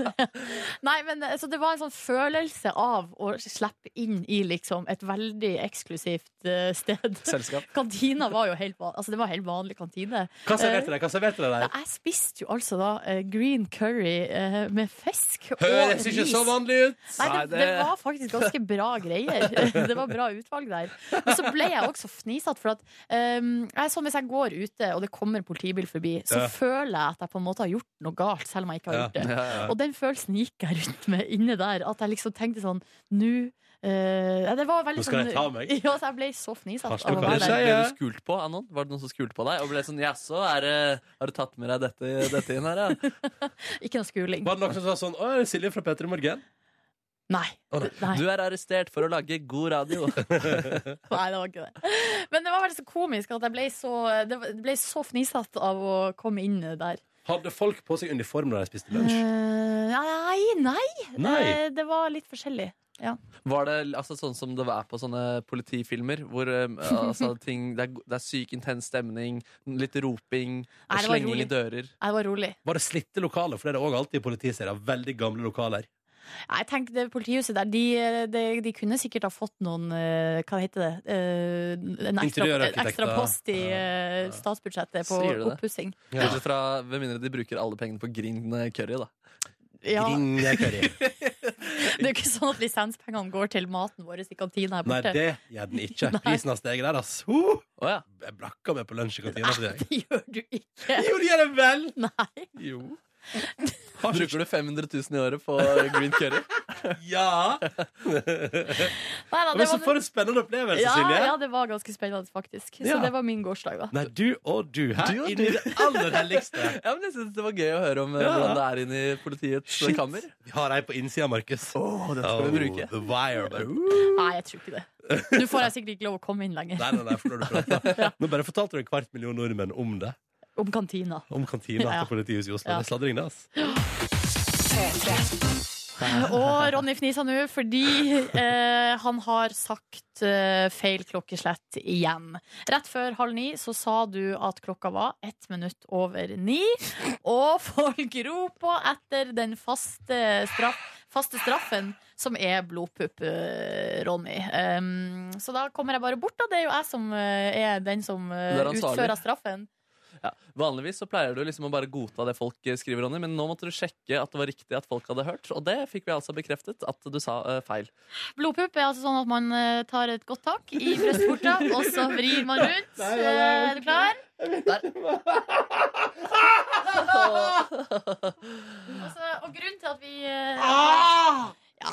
S2: Nei, men eh, Så det var en sånn følelse av å slippe inn i liksom et veldig eksklusivt eh, sted.
S3: Selskap.
S2: Kantina var jo helt, van- altså, det var helt vanlig kantine.
S1: Hva serverte deg? Hva serverte deg
S2: Ja,
S1: der?
S2: Jeg spiste jo altså da eh, green curry eh, med fisk og
S1: Høres ikke
S2: ris.
S1: så vanlig ut!
S2: Nei,
S3: Nei,
S2: det, det
S3: det-
S2: var faktisk ganske bra greier. Det var bra utvalg der. Men så ble jeg også fnisete, for at ehm, jeg er sånn, hvis jeg går ute og det kommer en politibil forbi, så
S1: Ja.
S2: føler jeg at jeg på en måte har gjort noe galt, selv om jeg ikke har
S1: Ja.
S2: gjort det.
S3: Ja, ja.
S1: Eh,
S2: Og den følelsen gikk jeg rundt med inne der, at jeg liksom tenkte sånn Nå eh, ja, Det var veldig
S1: Nå skal
S2: sånn
S1: de ta meg.
S2: Ja, så jeg ble så fnisete
S1: Karsten,
S2: av å
S1: kan
S3: Ble,
S1: Hva er
S2: være
S1: det?
S3: det,
S2: der.
S3: ble du skult på av noen? Var det noen som skulte på deg? Og ble sånn, jaså, er det- har du tatt med deg dette, dette inn her, ja?
S2: Ikke noe skuling.
S1: Var det noen som sa sånn Å, er det Silje fra P3 Morgen?
S2: Nei. Nei.
S3: Du er arrestert for å lage god radio.
S2: Nei, det var ikke det. Men det var veldig så komisk at jeg ble så, det var- det ble så fnisete av å komme inn der.
S1: Hadde folk på seg uniform når de spiste lunsj?
S2: Eh, nei, nei.
S1: Nei.
S2: Eh, Det var litt forskjellig.
S3: Var det altså, sånn som det er på sånne politifilmer? Hvor eh, altså, ting, det, er, det er syk, intens stemning, litt
S2: Nei,
S3: roping, og
S2: det var
S3: slenging i
S2: rolig.
S3: dører.
S2: Nei, Det var rolig.
S1: Var det slitte lokaler? For det er det òg alltid i politiserier. Veldig gamle lokaler.
S2: Nei, Jeg tenker det Politihuset der, de, de, de kunne sikkert ha fått noen eh, Hva heter det? Eh, En ekstra, en
S1: Interiørarkitekter.
S2: ekstra post i eh,
S1: Ja.
S2: statsbudsjettet på
S3: Sier du det?
S2: oppussing.
S1: Ja.
S3: Bortsett fra, Med mindre de bruker alle pengene på green eh, curry, da.
S2: Ja.
S1: Grinjekari.
S2: Det er jo ikke sånn at lisenspengene går til maten vår i kantina her
S1: Nei,
S2: borte.
S1: det gjør den ikke.
S2: Nei.
S1: Prisen har steget der, ass. Ho!
S3: ja.
S1: Jeg brakka meg på lunsj i kantina. for det.
S2: Det gjør du ikke.
S1: Jo, det gjør jeg vel!
S2: Nei.
S1: Jo.
S3: Bruker du 500 000 i året på green curry?
S1: Ja!
S2: Nei da,
S1: Men
S2: det
S1: så
S2: var
S1: for en spennende opplevelse,
S2: ja,
S1: Silje.
S2: ja, det var ganske spennende, faktisk. Så
S1: Ja.
S2: det var min gårsdag, da.
S1: Nei, du og du her.
S3: Du og
S1: Inni
S3: du.
S1: det aller helligste.
S3: Ja, men jeg synes Det var gøy å høre om eh,
S1: Ja.
S3: hvordan det er inni politiets eh,
S1: Shit.
S3: kammer.
S1: Vi har ei på innsida, Markus.
S3: Oh, det skal vi bruke.
S1: The wire. Bare, uh.
S2: Nei, jeg tror ikke det. Nå får jeg sikkert ikke lov å komme inn lenger.
S1: Nei, nei, nei, for når du prater. Nå bare fortalte du en kvart million nordmenn om det.
S2: Om kantina.
S1: Om kantina
S2: Ja.
S1: til politihuset i Oslo.
S2: Ja.
S1: Det er sladring, det, ass.
S2: Og Ronny fnisa nå fordi eh, han har sagt eh, feil klokkeslett igjen. Rett før halv ni så sa du at klokka var ett minutt over ni, og folk ropa etter den faste, straff, faste straffen, som er blodpupp, eh, Ronny. Em, så da kommer jeg bare bort, da. Det er jo jeg som eh, er den som eh,
S3: Du er ansvarlig.
S2: utfører straffen.
S3: Ja. Vanligvis så pleier du liksom å bare godta det folk eh, skriver, Ronny, men nå måtte du sjekke at det var riktig at folk hadde hørt, og det fikk vi altså bekreftet at du sa eh, feil.
S2: Blodpupp er altså sånn at man eh, tar et godt tak i brystvorta, og så vrir man rundt. Eh, Er du klar? Der. Altså, og grunnen til at vi eh, ja,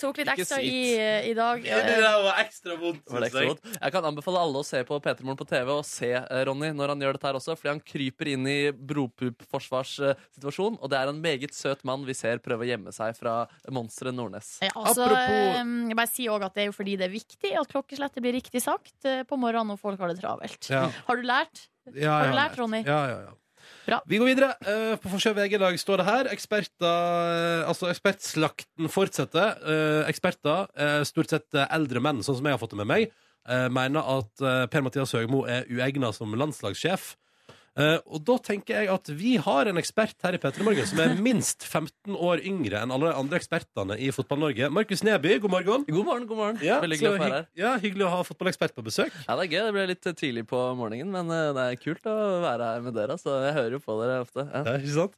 S2: tok litt
S3: Ikke
S2: ekstra
S3: sitt.
S2: i, i dag
S1: Det
S2: eh,
S1: der var ekstra vondt.
S3: Var det
S1: synes jeg.
S3: ekstra godt? Jeg kan anbefale alle å se på Peter Morgen på TV og se eh, Ronny når han gjør dette her også, fordi han kryper inn i blodpup-forsvarssituasjon, og det er en meget søt mann vi ser prøve å gjemme seg fra monsteret Nordnes.
S2: ja, altså,
S1: Apropos-
S2: eh, jeg bare sier også at Det er jo fordi det er viktig at klokkeslettet blir riktig sagt eh, på morgenen når folk har det travelt.
S1: Ja.
S2: Har du lært?
S1: Ja,
S2: Har du
S1: ja,
S2: lært, Ronny?
S1: Ja, ja, ja.
S2: Bra.
S1: Vi går videre. Eh, på Forsida VG i dag står det her eksperter, eh, altså Ekspertslakten fortsetter. Eh, eksperter, eh, stort sett eh, eldre menn, sånn som jeg har fått det med meg, eh, mener at eh, Per-Mathias Høgmo er uegna som landslagssjef. Eh, og da tenker jeg at vi har en ekspert her i Petter i Morgen som er minst 15 år yngre enn alle de andre ekspertene i Fotball-Norge. Markus Neby, god morgen.
S3: God morgen, god morgen. Veldig
S1: så
S3: glad for å være
S1: hygg-
S3: her.
S1: Ja, hyggelig å ha fotballekspert på besøk.
S3: Ja, det er gøy. Det ble litt tidlig på morgenen, men eh, det er kult å være her med dere. Så jeg hører jo på dere ofte. Ja.
S1: Ja, ikke sant?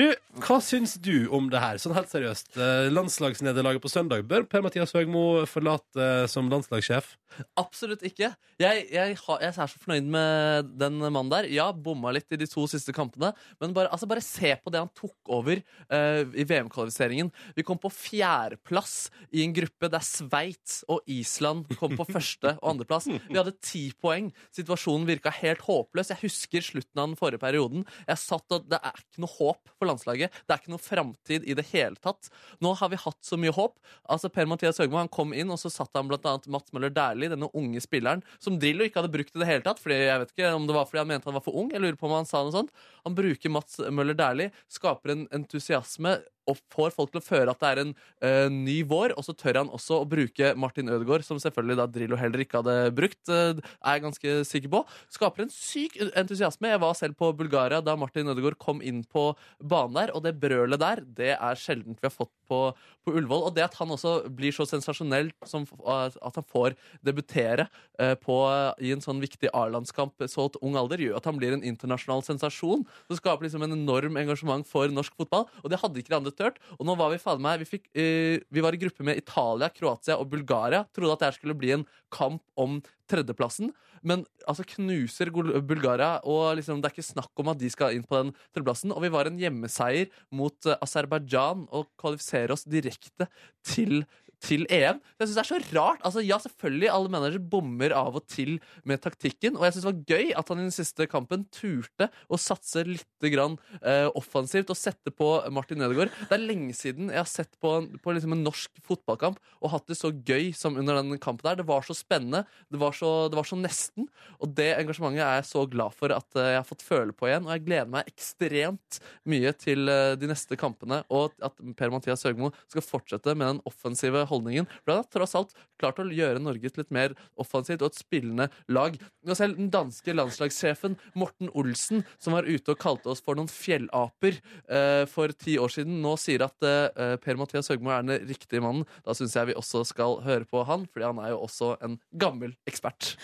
S1: Du, hva syns du om det her? Sånn helt seriøst. Eh, Landslagsnederlaget på søndag. Bør Per-Mathias Høgmo forlate eh, som landslagssjef?
S3: Absolutt ikke. Jeg, jeg, har- jeg er så fornøyd med den mannen der. Ja, bomma litt i de to siste kampene, men bare, altså, bare se på det han tok over eh, i VM-kvalifiseringen. Vi kom på fjerdeplass i en gruppe der Sveits og Island kom på første- og andreplass. Vi hadde ti poeng. Situasjonen virka helt håpløs. Jeg husker slutten av den forrige perioden. Jeg satt og Det er ikke noe håp for landslaget. Det er ikke noe framtid i det hele tatt. Nå har vi hatt så mye håp. Altså Per-Mathias Høgmo han kom inn, og så satt han blant annet Mats Møller Dæhlie, denne unge spilleren, som Drillo ikke hadde brukt i det hele tatt. Fordi jeg vet ikke om det var fordi han mente han var for ung. Jeg lurer på om han sa noe sånt. Han bruker Mats Møller Dæhlie, skaper en entusiasme. Og får folk til å føle at det er en eh, ny vår. Og så tør han også å bruke Martin Ødegaard, som selvfølgelig da Drillo heller ikke hadde brukt. eh, er jeg ganske sikker på. Skaper en syk entusiasme. Jeg var selv på Bulgaria da Martin Ødegaard kom inn på banen der, og det brølet der, det er sjeldent vi har fått på, på Ullevål. Og det at han også blir så sensasjonell som f- at han får debutere eh, på, i en sånn viktig A-landskamp så til ung alder, gjør at han blir en internasjonal sensasjon. Det skaper liksom en enorm engasjement for norsk fotball, og det hadde ikke de andre tørt. Og nå var vi fader meg, vi, fikk, eh, vi var i gruppe med Italia, Kroatia og Bulgaria. Trodde at det her skulle bli en kamp om tredjeplassen, men altså knuser Gul- Bulgaria, og liksom, det er ikke snakk om at de skal inn på den tredjeplassen. Og vi var en hjemmeseier mot eh, Aserbajdsjan og kvalifiserer oss direkte til til EM. Jeg synes det er så rart. Altså, ja, selvfølgelig, alle managere bommer av og til med taktikken, og jeg synes det var gøy at han i den siste kampen turte å satse litt grann, eh, offensivt og sette på Martin Ødegaard. Det er lenge siden jeg har sett på, en- på liksom en norsk fotballkamp og hatt det så gøy som under den kampen der. Det var så spennende, det var så, det var så nesten, og det engasjementet er jeg så glad for at eh, jeg har fått føle på igjen, og jeg gleder meg ekstremt mye til eh, de neste kampene, og at Per-Mathias Høgmo skal fortsette med den offensive holdningen. For han har tross alt klart å gjøre Norge til et mer offensivt og et spillende lag. Og selv den danske landslagssjefen Morten Olsen, som var ute og kalte oss for noen fjellaper eh, for ti år siden, nå sier at eh, Per-Mathias Høgmo er den riktige mannen. Da syns jeg vi også skal høre på han, fordi han er jo også en gammel ekspert.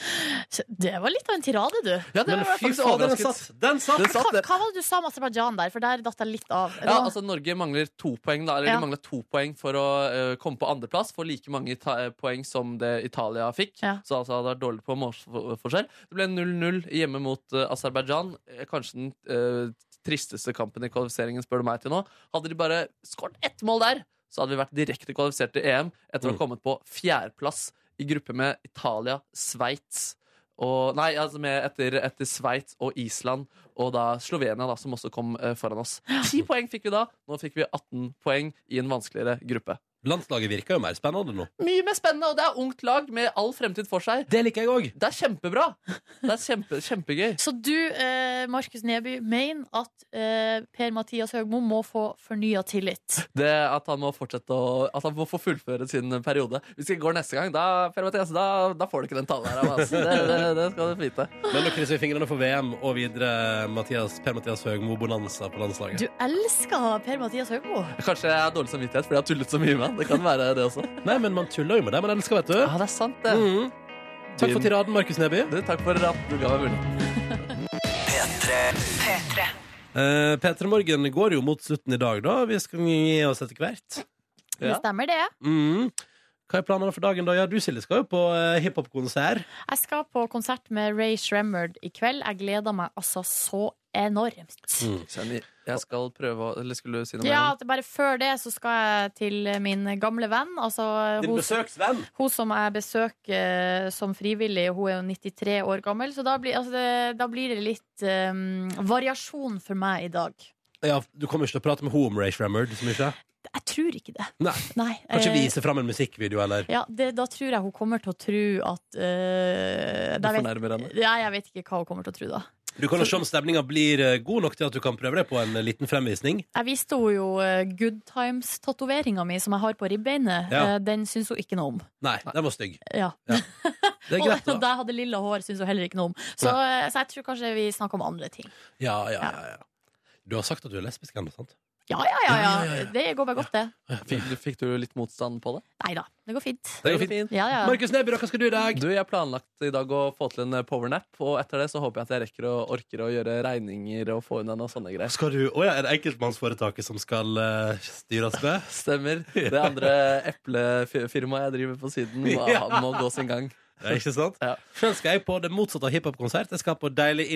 S2: Det var litt av en tirade, du.
S3: Ja, det Men var jeg fy faktisk fader, den overrasket. satt. Den satt. Den satt,
S2: Hva,
S3: det.
S2: hva var det du sa om Aserbajdsjan der? For der datt jeg litt av.
S3: Ja, altså Norge mangler to poeng da Eller
S2: Ja.
S3: de mangler to poeng for å eh, komme på andreplass. Får like mange ita eh, poeng som det Italia fikk. Så altså det er dårlig på målforskjell. Det ble 0-0 hjemme mot uh, Aserbajdsjan. Eh, Kanskje den eh, tristeste kampen i kvalifiseringen, spør du meg til nå. Hadde de bare skåret ett mål der, så hadde vi vært direkte kvalifisert til EM etter å ha kommet på fjerdeplass i gruppe med Italia, Sveits og, Nei, altså med etter, etter Sveits og Island og da Slovenia, da, som også kom eh, foran oss. Ti poeng fikk vi da. Nå fikk vi 18 poeng i en vanskeligere gruppe.
S1: Landslaget virker jo mer spennende nå.
S3: Mye mer spennende, og det er ungt lag med all fremtid for seg.
S1: Det liker jeg òg.
S3: Det er kjempebra. Det er kjempe, kjempegøy.
S2: Så du, eh, Markus Neby, mener at eh, Per-Mathias Høgmo må få fornya tillit?
S3: Det at han må fortsette å, At han må få fullføre sin periode. Hvis det går neste gang, da, Per Mathias, da, da får du ikke den talen her. av meg, Altså. Det, det, det skal du vite.
S1: Men nå krysser vi fingrene for VM og videre Mathias, Per-Mathias Høgmo Bonanza på landslaget.
S2: Du elsker Per-Mathias Høgmo.
S3: Kanskje jeg har dårlig samvittighet fordi jeg har tullet så mye med han. Det kan være det også.
S1: Nei, men man tuller jo med det man elsker, vet du. Mhm.
S3: Ja, det er sant, det.
S1: Takk for tiraden, Markus Neby.
S3: Du, takk for at du ga meg muligheten.
S1: Eh, P3 Morgen går jo mot slutten i dag, da. Vi skal gi oss etter hvert.
S2: Det stemmer, det.
S1: Mm. Hva er planene for dagen, da? Ja, du Silje skal jo på eh, hiphop-konsert.
S2: Jeg skal på konsert med Ray Shremmerd i kveld. Jeg gleder meg altså så enormt.
S1: Mm.
S3: Jenny, Jeg skal prøve å Eller skulle du si noe mer?
S2: Ja, at bare før det så skal jeg til min gamle venn. Altså,
S3: Din besøksvenn?
S2: Hun som jeg besøker eh, som frivillig. Hun er jo 93 år gammel, så da blir, altså det, da blir det litt um, variasjon for meg i dag.
S1: Ja, du kommer ikke til å prate med henne om Ray Shremmerd så mye?
S2: Jeg tror ikke det.
S1: Nei.
S2: Nei.
S1: Kanskje
S2: eh,
S1: vise fram en musikkvideo, eller?
S2: Ja, det, Da tror jeg hun kommer til å tro at eh,
S1: Du
S2: da vet-
S1: fornærmer henne.
S2: Ja, jeg vet ikke hva hun kommer til å tro da.
S1: Du kan jo se om stemninga blir eh, god nok til at du kan prøve deg på en eh, liten fremvisning.
S2: Jeg viste henne jo eh, Good Times-tatoveringa mi som jeg har på ribbeinet.
S1: Ja.
S2: Eh, Den syns hun ikke noe om.
S1: Nei, den var stygg.
S2: Ja.
S1: Det er greit,
S2: og
S1: da.
S2: da jeg hadde lilla hår, syns hun heller ikke noe om. Så, eh, så jeg tror kanskje vi snakker om andre ting.
S1: Ja, ja, ja, ja. Du har sagt at du er lesbisk ennå, sant?
S2: Ja, ja, ja. ja, Det går bare godt, det.
S3: Fikk, du- fikk du litt motstand på det?
S2: Nei da, det går fint.
S3: Det går fint.
S2: Ja, ja.
S1: Markus Neby, hva skal du i dag?
S3: Du, Jeg har planlagt i dag å få til en powernap, og etter det så håper jeg at jeg rekker å orker å gjøre regninger og få unna noen sånne greier.
S1: Skal du, Å ja, er det enkeltmannsforetaket som skal eh, styres med?
S3: Stemmer. Det andre eplefirmaet jeg driver på siden, må,
S1: Ja.
S3: må gå sin gang.
S1: Ja, ikke sant? Sjøl skal jeg på det motsatte av hiphop-konsert. Jeg skal på deilig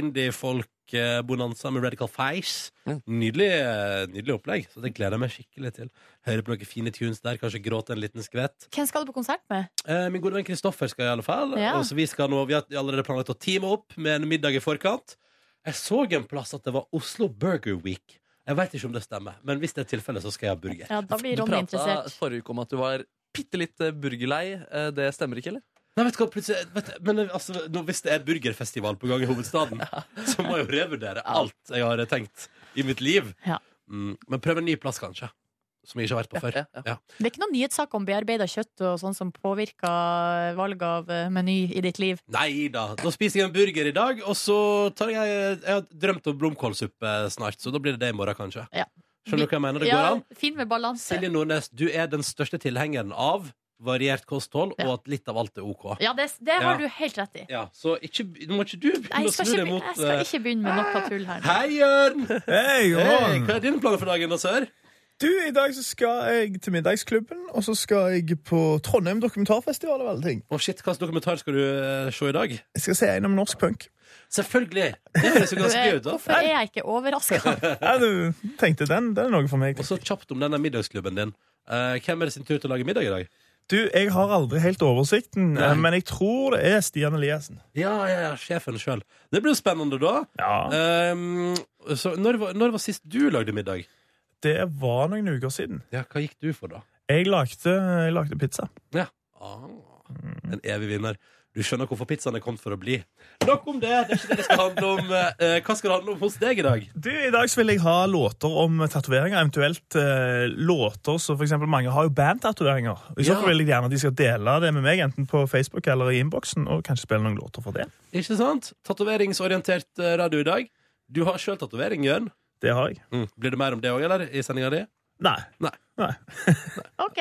S1: indie-folk-bonanza med Radical Face. Nydelig, eh, nydelig opplegg, så det gleder jeg meg skikkelig til. Høre på noen fine tunes der, kanskje gråte en liten skvett.
S2: Hvem skal du på konsert med?
S1: Eh, Min gode venn Kristoffer skal i alle fall.
S2: Ja.
S1: Og så vi, skal nå, vi har allerede planlagt å teame opp med en middag i forkant. Jeg så en plass at det var Oslo Burger Week. Jeg veit ikke om det stemmer, men hvis det er tilfellet, så skal jeg ha burger.
S2: Ja, da blir
S3: Du
S2: Ronny
S3: prata
S2: interessert.
S3: forrige uke om at du var bitte litt eh, burgerlei. Eh, Det stemmer ikke, eller?
S1: Nei, vet du hva, plutselig vet, du- Men altså, nå, hvis det er burgerfestival på gang i hovedstaden, så må jeg jo revurdere alt jeg har tenkt i mitt liv. Mm, men prøv en ny plass, kanskje. Som jeg ikke har vært på før. Ja.
S2: Det er ikke noen nyhetssak om bearbeida kjøtt og sånn som påvirker valget av eh, meny i ditt liv.
S1: Nei da. Da spiser jeg en burger i dag, og så tar jeg Jeg har drømt om blomkålsuppe snart, så da blir det det i morgen, kanskje.
S2: Ja.
S1: Skjønner du hva jeg mener? Det
S2: ja,
S1: går an.
S2: Fint med balanse.
S1: Silje Nordnes, du er den største tilhengeren av variert kosthold, og at litt av alt er OK.
S2: Ja, det, det
S1: Ja.
S2: har du helt rett i.
S1: Ja, så ikke, nå må ikke du
S2: Nei,
S1: begynne å
S2: jeg, skal
S1: snu
S2: ikke,
S1: deg mot
S2: jeg skal
S1: eh,
S2: ikke begynne med noe tull her. nå.
S1: Hei, Jørn!
S11: Hei, god morgen.
S1: Hva er dine planer for dagen, da, sør?
S11: Du, I dag så skal jeg til Middagsklubben, og så skal jeg på Trondheim dokumentarfestival. og alle ting.
S1: Å shit, Hvilken dokumentar skal du eh, se i dag?
S11: Jeg skal se en om norsk punk.
S1: Selvfølgelig! Det høres jo
S2: Du,
S1: ganske
S2: eh,
S1: gøy ut. da.
S2: Hvorfor er jeg ikke overraska?
S11: Ja, du tenkte den, den er noe for meg.
S1: Og så kjapt om denne middagsklubben din. Eh, hvem er det sin tur til å lage middag i dag?
S11: Du, Jeg har aldri helt oversikten,
S1: Nei.
S11: eh, men jeg tror det er Stian Eliassen.
S1: Ja, ja, ja, sjefen sjøl. Det blir jo spennende, da. Ehm, så når, var- når var sist du lagde middag?
S11: Det var noen uker siden.
S1: Ja, Hva gikk du for, da?
S11: Jeg lagde, jeg lagde pizza. Mm.
S1: Ja. Ah, en evig vinner. Du skjønner hvorfor pizzaen er kommet for å bli. Nok om det. Det er ikke det det skal handle om. Eh, hva skal det handle om hos deg i dag?
S11: Du, I dag så vil jeg ha låter om tatoveringer, eventuelt eh, låter som for eksempel mange har jo bandtatoveringer. I så
S1: Ja.
S11: fall vil jeg gjerne at de skal dele det med meg, enten på Facebook eller i innboksen, og kanskje spille noen låter for det.
S1: Ikke sant? Tatoveringsorientert eh, radio i dag. Du har sjøl tatovering, Jørn.
S11: Det har jeg.
S1: Mm. Blir det mer om det òg, eller? I sendinga di?
S11: Nei.
S1: Nei.
S2: OK.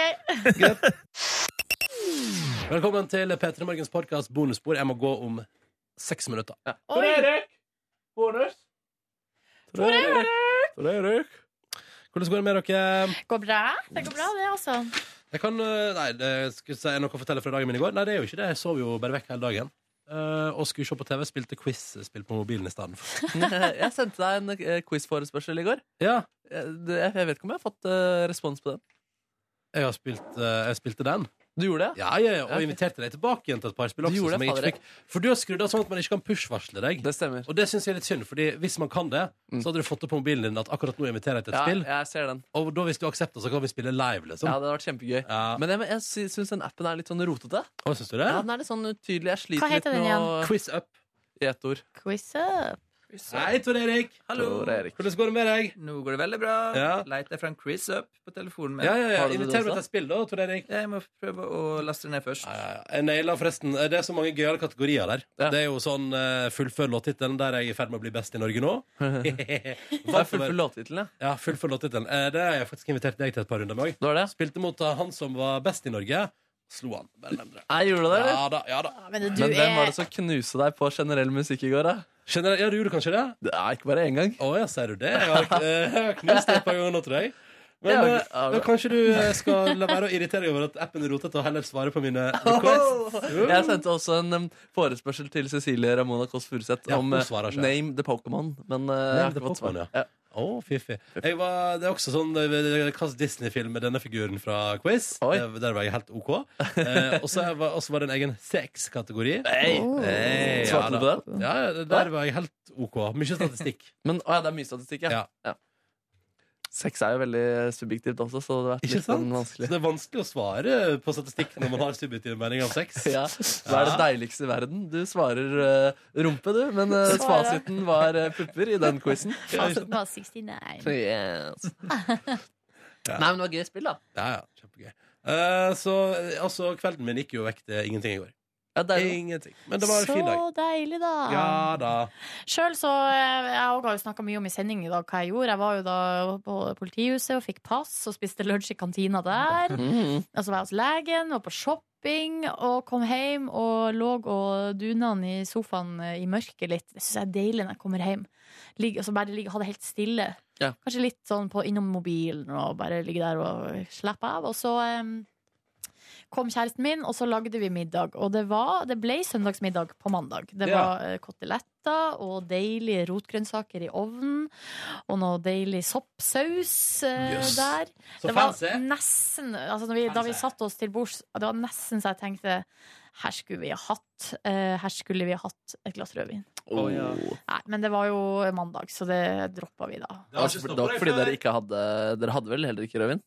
S1: Velkommen til P3 Morgens podkast bonusspor. Jeg må gå om seks minutter.
S2: Tor
S3: Erik! Bonus!
S1: Tor Erik! Tor Erik! Hvordan går det med dere?
S2: Går bra? Det går bra, det, altså.
S1: Jeg kan, øh, nei, det skulle si noe å fortelle fra dagen min i går. Nei, det er jo ikke det. Jeg sov jo bare vekk hele dagen. Eh, og skulle se på TV, spilte quiz-spill på mobilen i stedet. for.
S3: jeg sendte deg en eh, quiz-forespørsel i går.
S1: Ja.
S3: Jeg, det- jeg vet ikke om jeg har fått eh, respons på den.
S1: Jeg, har spilt, eh, jeg spilte den.
S3: Du gjorde det?
S1: Ja, ja, ja, og
S3: Ja, ok.
S1: inviterte deg tilbake igjen til et par spill
S3: Du
S1: også,
S3: gjorde
S1: som
S3: det,
S1: jeg ikke
S3: fader,
S1: fikk. For du har skrudd av sånn at man ikke kan push-varsle deg.
S3: Det stemmer.
S1: Og det syns jeg er litt synd, Fordi hvis man kan det, så hadde du fått det på mobilen din at akkurat nå inviterer jeg til et
S3: Ja,
S1: spill.
S3: jeg ser den.
S1: Og da hvis du aksepter, så kan vi spille live, liksom.
S3: Ja, det hadde vært kjempegøy. Men jeg, jeg sy- syns den appen er litt sånn rotete.
S1: Å, syns du det?
S3: Ja, den er litt sånn utydelig. Jeg sliter
S2: Hva heter den
S3: litt med
S2: igjen?
S3: å
S1: Quiz up.
S3: I ett ord.
S2: Quiz up.
S1: Hei, Tor Erik.
S12: Hallo.
S1: Hvordan går det med deg?
S12: Nå går det veldig bra.
S1: Ja.
S12: Leit deg fram Chris Up på telefonen min.
S1: Ja, ja, ja. Inviter meg til et spill, da, Tor Erik.
S12: Jeg må prøve å laste det ned først.
S1: Jeg naila forresten. eh, Det er så mange gøyale kategorier der. Det er jo sånn uh, fullfør låttittelen der jeg er i ferd med å bli best i Norge nå.
S3: Hva er fullfør låttittelen, ja?
S1: Ja, fullfør låttittelen. Eh, det har jeg faktisk invitert deg til et par runder med
S3: òg.
S1: Spilte mot eh, han som var best i Norge. Slo han. Bare nevn det.
S3: Jeg gjorde det, eller?
S1: Ja da. ja da
S2: Men,
S3: Men hvem var det som knuste deg på generell musikk i går, da?
S1: ja, du gjorde kanskje det?
S3: Nei, ikke bare én gang.
S1: Å ja, sier du det? Jeg har, eh, jeg har knust det et par ganger nå til deg. Men
S3: Ja,
S1: eh,
S3: ja,
S1: men
S3: bra.
S1: kanskje du eh, skal la være å irritere deg over at appen er rotete, og heller svare på mine
S3: Oh.
S1: requests?
S3: Jeg sendte også en em, forespørsel til Cecilie Ramona Kåss Furuseth
S1: Ja,
S3: om
S1: hun
S3: eh,
S1: svarer ikke.
S3: Name the Pokémon, men eh, jeg har
S1: the
S3: ikke fått
S1: Pokémon,
S3: svar.
S1: ja. Å, fiffig. Jeg var, det er også sånn eh, Hvilken Disney-film er denne figuren fra quiz? Der, der var jeg helt OK. Eh, og så var, også var det en egen sex-kategori.
S3: Hey.
S2: Oh.
S1: Hey, Eh, ja,
S3: Svarte du
S1: da.
S3: på den?
S1: Ja, ja, der var jeg helt OK. Mye statistikk.
S3: Men å, ja, det er mye statistikk, ja. ja. Sex er jo veldig subjektivt også, så det har vært
S1: Ikke
S3: litt
S1: sant?
S3: sånn
S1: Så
S3: vanskelig.
S1: det er vanskelig å svare på statistikk når man har subjektiv mening av sex.
S3: Ja. Hva er det deiligste i verden? Du svarer eh, rumpe, du, men eh,
S2: Svarer.
S3: fasiten var eh, pupper i den quizen.
S2: Altså, det var 69.
S3: Yes. Nei, men det var gøy spill, da.
S1: Ja, ja, kjempegøy. Eh, så eh, altså, kvelden min gikk jo vekk til ingenting i går. ingenting. Men det var en fin dag.
S2: Så deilig, da.
S1: Ja da.
S2: Sjøl så eh, Jeg også har jo snakka mye om i sending i dag hva jeg gjorde. Jeg var jo da på politihuset og fikk pass og spiste lunsj i kantina der.
S3: Mhm.
S2: Og så Altså, var jeg hos legen og på shopping og kom hjem og lå og duna han i sofaen eh, i mørket litt. Det syns jeg er deilig når jeg kommer hjem. Ligg- og så bare ligge, ha det helt stille.
S3: Ja.
S2: Kanskje litt sånn på innom mobilen og bare ligge der og slappe av. Og så em, kom kjæresten min, og så lagde vi middag. Og det, var, det ble søndagsmiddag på mandag. Det
S13: Ja.
S2: var eh, koteletter og deilige rotgrønnsaker i ovnen. Og noe deilig soppsaus eh,
S13: Jøs.
S2: der.
S13: Så
S2: det var
S13: fancy.
S2: nesten altså når vi, Da vi satte oss til bords, det var nesten så jeg tenkte her skulle vi ha hatt eh, Her skulle vi ha hatt et glass rødvin.
S3: Å, ja.
S2: Nei, men det var jo mandag, så det droppa vi da.
S3: Det var, ikke det var ikke Altså, fordi dere ikke hadde Dere hadde vel heller ikke rødvin?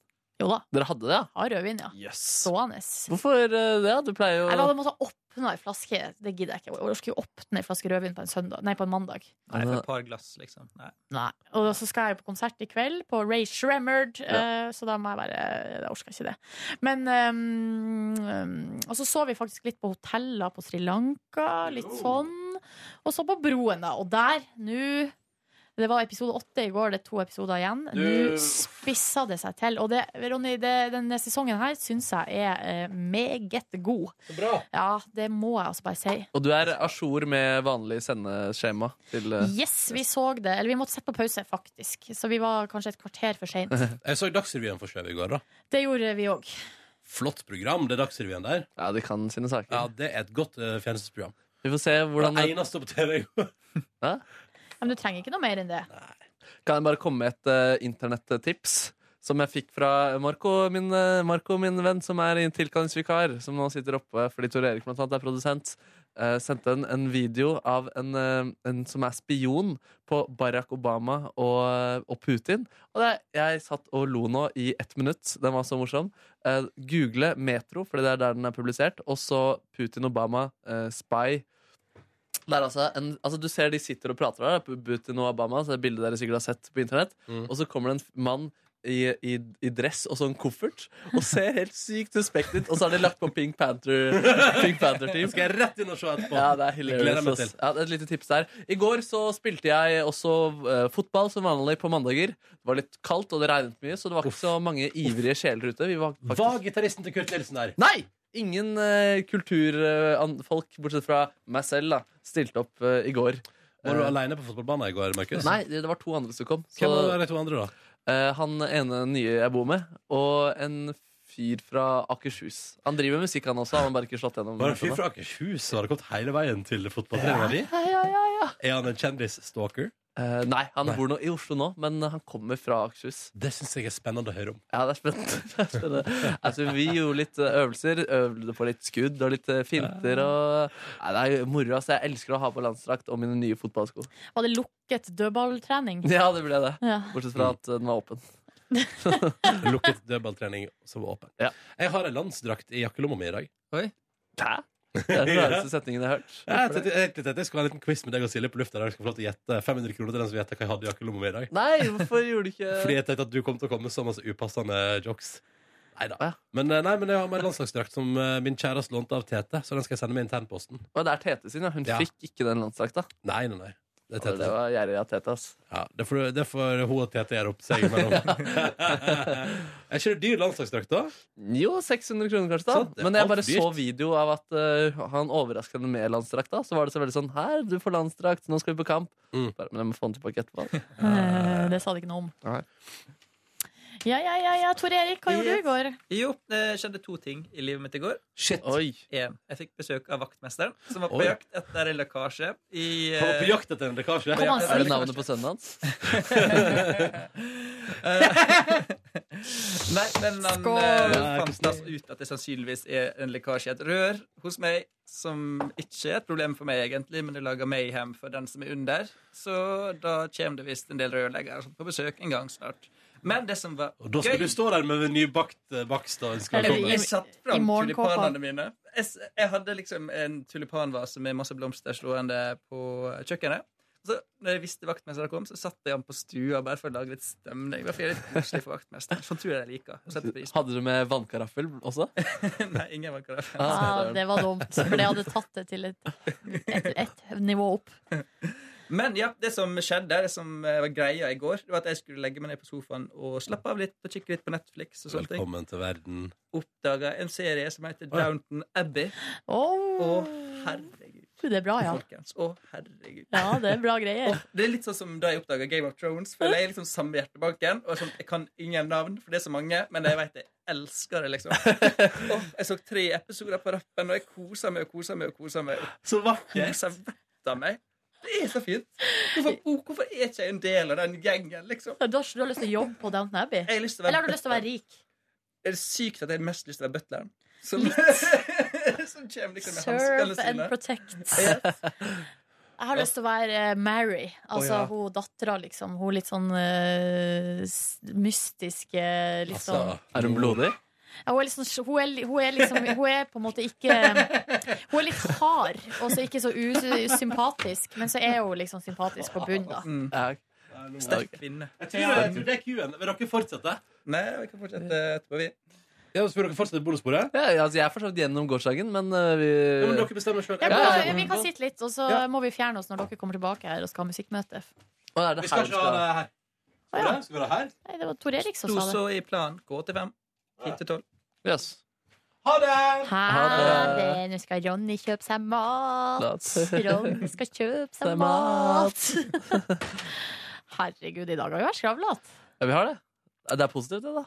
S2: Jo da.
S3: Dere hadde det, ja?
S2: Har rødvin, ja. Stående.
S3: Hvorfor eh, det? Du pleier jo
S2: Jeg la det måtte åpne ei flaske. Det gidder jeg ikke. Jeg orker jo åpne ei flaske rødvin på en, søndag, nei, på en mandag.
S12: Nei, for et par glass, liksom. Nei.
S2: Og så skal jeg jo på konsert i kveld, på Ray Shremmerd,
S12: Ja.
S2: eh, så da må jeg bare Jeg orker ikke det. Men ehm, Og så så vi faktisk litt på hoteller på Sri Lanka, litt sånn. Og så på broen, da. Og der, nå Det var episode åtte i går, det er to episoder igjen. Nå
S13: Du-
S2: spissa det seg til. Og det, Ronny, det, denne sesongen her syns jeg er eh, meget god. Ja, det må jeg altså bare si.
S3: Og du er a jour med vanlig sendeskjema til eh,
S2: Yes, vi så det. Eller vi måtte sette på pause, faktisk. Så vi var kanskje et kvarter for seint.
S1: Jeg så Dagsrevyen for skjøv i går, da.
S2: Det gjorde vi òg.
S1: Flott program, det Dagsrevyen der.
S3: Ja, de kan sine saker.
S1: Ja, Det er et godt eh, fjernsynsprogram.
S3: Vi får se hvordan
S1: Det eneste på TV i går.
S2: Men du trenger ikke noe mer enn det.
S3: Kan jeg bare komme med et eh, internettips som jeg fikk fra Marco min, eh, Marco, min venn, som er en tilkallingsvikar, som nå sitter oppe fordi Tor Erik blant annet er produsent. eh, sendte en, en video av en, eh, en som er spion på Barack Obama og, og Putin. Og det, jeg satt og lo nå i ett minutt. Den var så morsom. Eh, Google Metro, for det er der den er publisert. Og så Putin Obama eh, Spy. Det er altså, en, altså Du ser de sitter og prater der, Putin og Obama, så det er bildet dere sikkert har sett på internett. Og så kommer det en mann i, i, i dress og sånn koffert og ser helt sykt suspekt ut. Og så har de lagt på Pink Panther Pink Panther Team.
S1: Skal jeg rett inn og se etterpå?
S3: Ja, det er
S1: Gleder
S3: hilarious.
S1: meg
S3: ass.
S1: til.
S3: Ja, det er et lite tips der. I går så spilte jeg også eh, fotball som vanlig på mandager. Det var litt kaldt, og det regnet mye, så det var ikke så mange ivrige sjeler ute. Vi var, faktisk...
S1: Var gitaristen til Kurt Nilsen der?
S3: Nei! Ingen eh, kulturfolk, bortsett fra meg selv, da, stilte opp eh, i går.
S1: Var du
S3: Eh,
S1: aleine på fotballbanen i går, Markus?
S3: Nei, det det var to andre som kom.
S1: Hvem var de to andre,
S3: da? han ene nye jeg bor med, og en fyr fra Akershus. Han driver med musikk, han også. Han har bare ikke slått gjennom.
S1: Var det en fyr fra Akershus som hadde kommet hele veien til fotballtreninga di?
S3: Ja, ja, ja, ja.
S1: Er han en kjendisstalker?
S3: Eh, nei, han bor nå i Oslo nå, men han kommer fra Akershus.
S1: Det syns jeg er spennende å høre om.
S3: Ja, det er spennende. Det er spennende. altså, vi gjorde litt eh, øvelser. Øvde på litt skudd og litt eh, finter. Og... Nei, det er moro. Altså. Jeg elsker å ha på landsdrakt og mine nye fotballsko.
S2: Var det lukket dødballtrening?
S3: Ja, det ble det.
S2: Ja.
S3: Bortsett fra at eh, den var åpen.
S1: Lukket dødballtrening som var åpen. Jeg har en landsdrakt i jakkelomma mi i dag.
S12: Oi.
S3: Hæ? Det er den rareste setningen jeg har hørt.
S1: Ja, jeg tenkte- jeg tenkte at jeg skulle ha en liten quiz med deg og Silje på lufta. Der jeg skal få lov til å gjette 500 kroner til den som gjetter hva jeg hadde i jakkelomma mi i dag.
S3: Nei, hvorfor gjorde du ikke
S1: Fordi jeg tenkte at du kom til å komme med så masse upassende jokes. Neida. Men, eh, nei, men jeg har med en landslagsdrakt som eh, min kjæreste lånte av Tete, så den skal jeg sende med internposten.
S3: Å, det er Tete sin, ja. Hun
S1: Ja.
S3: fikk ikke den landsdrakta.
S1: Nei, nei, nei. Det, er
S3: Å, det
S1: Tete.
S3: var gjerrig av Tete, ass.
S1: Ja, det får, det får hun og Tete gjøre opp seg imellom. er ikke det dyr landslagsdrakt, da?
S3: Jo, 600 kroner kanskje, da.
S1: det er
S3: Men jeg
S1: Sånn, alt
S3: bare
S1: dyrt.
S3: så video av at eh, han overrasket henne med landsdrakt. da Så var det så veldig sånn Her, du får landsdrakt, nå skal vi på kamp.
S1: Mm.
S3: Bare, men jeg må få den tilbake etterpå.
S2: Eh, det sa de ikke noe om. Ja, ja, ja, ja. Tor Erik, hva gjorde du i går?
S12: Jo, det skjedde to ting i livet mitt i går. En, jeg fikk besøk av vaktmesteren, som var på
S1: Oi.
S12: jakt etter en lekkasje. I, eh,
S1: Han var på jakt etter en lekkasje? Kom han selv? Er det navnet på
S3: sønnen hans?
S12: Nei, men han
S1: Skål!
S12: eh,
S1: Nei,
S12: fant da ut at det sannsynligvis er en lekkasje i et rør hos meg, som ikke er et problem for meg egentlig, men det lager mayhem for den som er under. Så da kommer det visst en del rørleggere på besøk en gang snart. Men det som var
S1: Og da skal
S12: gøy
S1: du stå der med en nybakt eh, bakst og ønske velkommen.
S12: jeg satt fram
S1: morgenkåpa.
S12: tulipanene mine. Jeg, s- jeg hadde liksom en tulipanvase med masse blomster stående på kjøkkenet. Og Så når jeg visste vaktmesteren kom, så satte jeg han på stua bare for å lage litt stemning. Det var fordi jeg er litt koselig for vaktmesteren. Sånn tror jeg jeg liker. Jeg setter pris på
S3: Hadde du med vannkaraffel også?
S12: det. Nei, ingen var klar.
S2: Ja, Ah, det var dumt, for det hadde tatt det til et, et, et nivå opp.
S12: Men ja, det som skjedde, det som eh, var greia i går, det var at jeg skulle legge meg ned på sofaen og slappe av litt og kikke litt på Netflix og sånne ting.
S1: Velkommen til verden.
S12: Oppdaga en serie som heter
S1: Å, ja.
S12: Downton Abbey. Og herregud.
S2: Det er bra, ja.
S12: Folkens, å herregud.
S2: Ja, det er bra greier.
S12: Åh, det er litt sånn som da jeg oppdaga Game of Thrones. Føler jeg er liksom samme hjertebanken. Og er sånn, jeg kan ingen navn, for det er så mange, men jeg vet jeg elsker det, liksom. Åh, jeg så tre episoder på rappen, og jeg kosa meg og kosa meg og kosa meg.
S1: Så vakkert!
S12: Kosa vettet av meg. Det er så fint. Hvorfor, oh, hvorfor er ikke jeg en del av den gjengen, liksom?
S2: Du har, du har lyst til å jobbe på Downton Abbey?
S12: å være
S2: Eller har du lyst til å være rik?
S12: Er det sykt at jeg har mest lyst til å være butleren? Som, som kommer liksom med hanskene
S2: Serve and
S12: sine.
S2: protect. Jeg har lyst til å være eh, Mary. Altså
S12: Å, ja.
S2: hun dattera, liksom. Hun litt sånn eh, s- mystisk eh, litt
S1: Altså.
S2: sånn
S3: er hun blodig?
S2: ja, hun, er litt sånn, hun, er, li- hun er liksom Hun er på en måte ikke Hun er litt hard, og så ikke så usympatisk. Men så er hun liksom sympatisk på bunnen, da.
S3: Mm.
S12: Sterk kvinne.
S1: Jeg tror, jeg tror det er Q-en. Vil dere fortsette?
S12: Nei, vi kan fortsette
S2: Mm.
S12: etterpå, vi.
S1: Ja, Skal dere fortsette bonussporet?
S3: Ja, altså, jeg er for så vidt gjennom gårsdagen, men eh, vi
S1: Ja, men dere bestemmer sjøl.
S2: Ja, men da- vi kan sitte litt, og så
S1: Ja.
S2: må vi fjerne oss når dere kommer tilbake her og skal ha musikkmøte.
S3: Å, er det
S1: Vi skal
S3: her
S1: ikke ha det her. Skal vi det? Skal vi ha det her?
S2: Nei, det var Tor Erik som
S12: Sto
S2: sa det.
S12: så i planen. Gå til fem. Hit til tolv.
S3: Yes.
S1: Ha det!
S2: Ha det. Nå skal Ronny kjøpe seg mat. Ronny skal kjøpe
S3: Det
S2: seg
S3: er
S2: mat. Herregud, i dag har vi vært skravlete.
S3: Ja, vi har det. Det er positivt, det, da.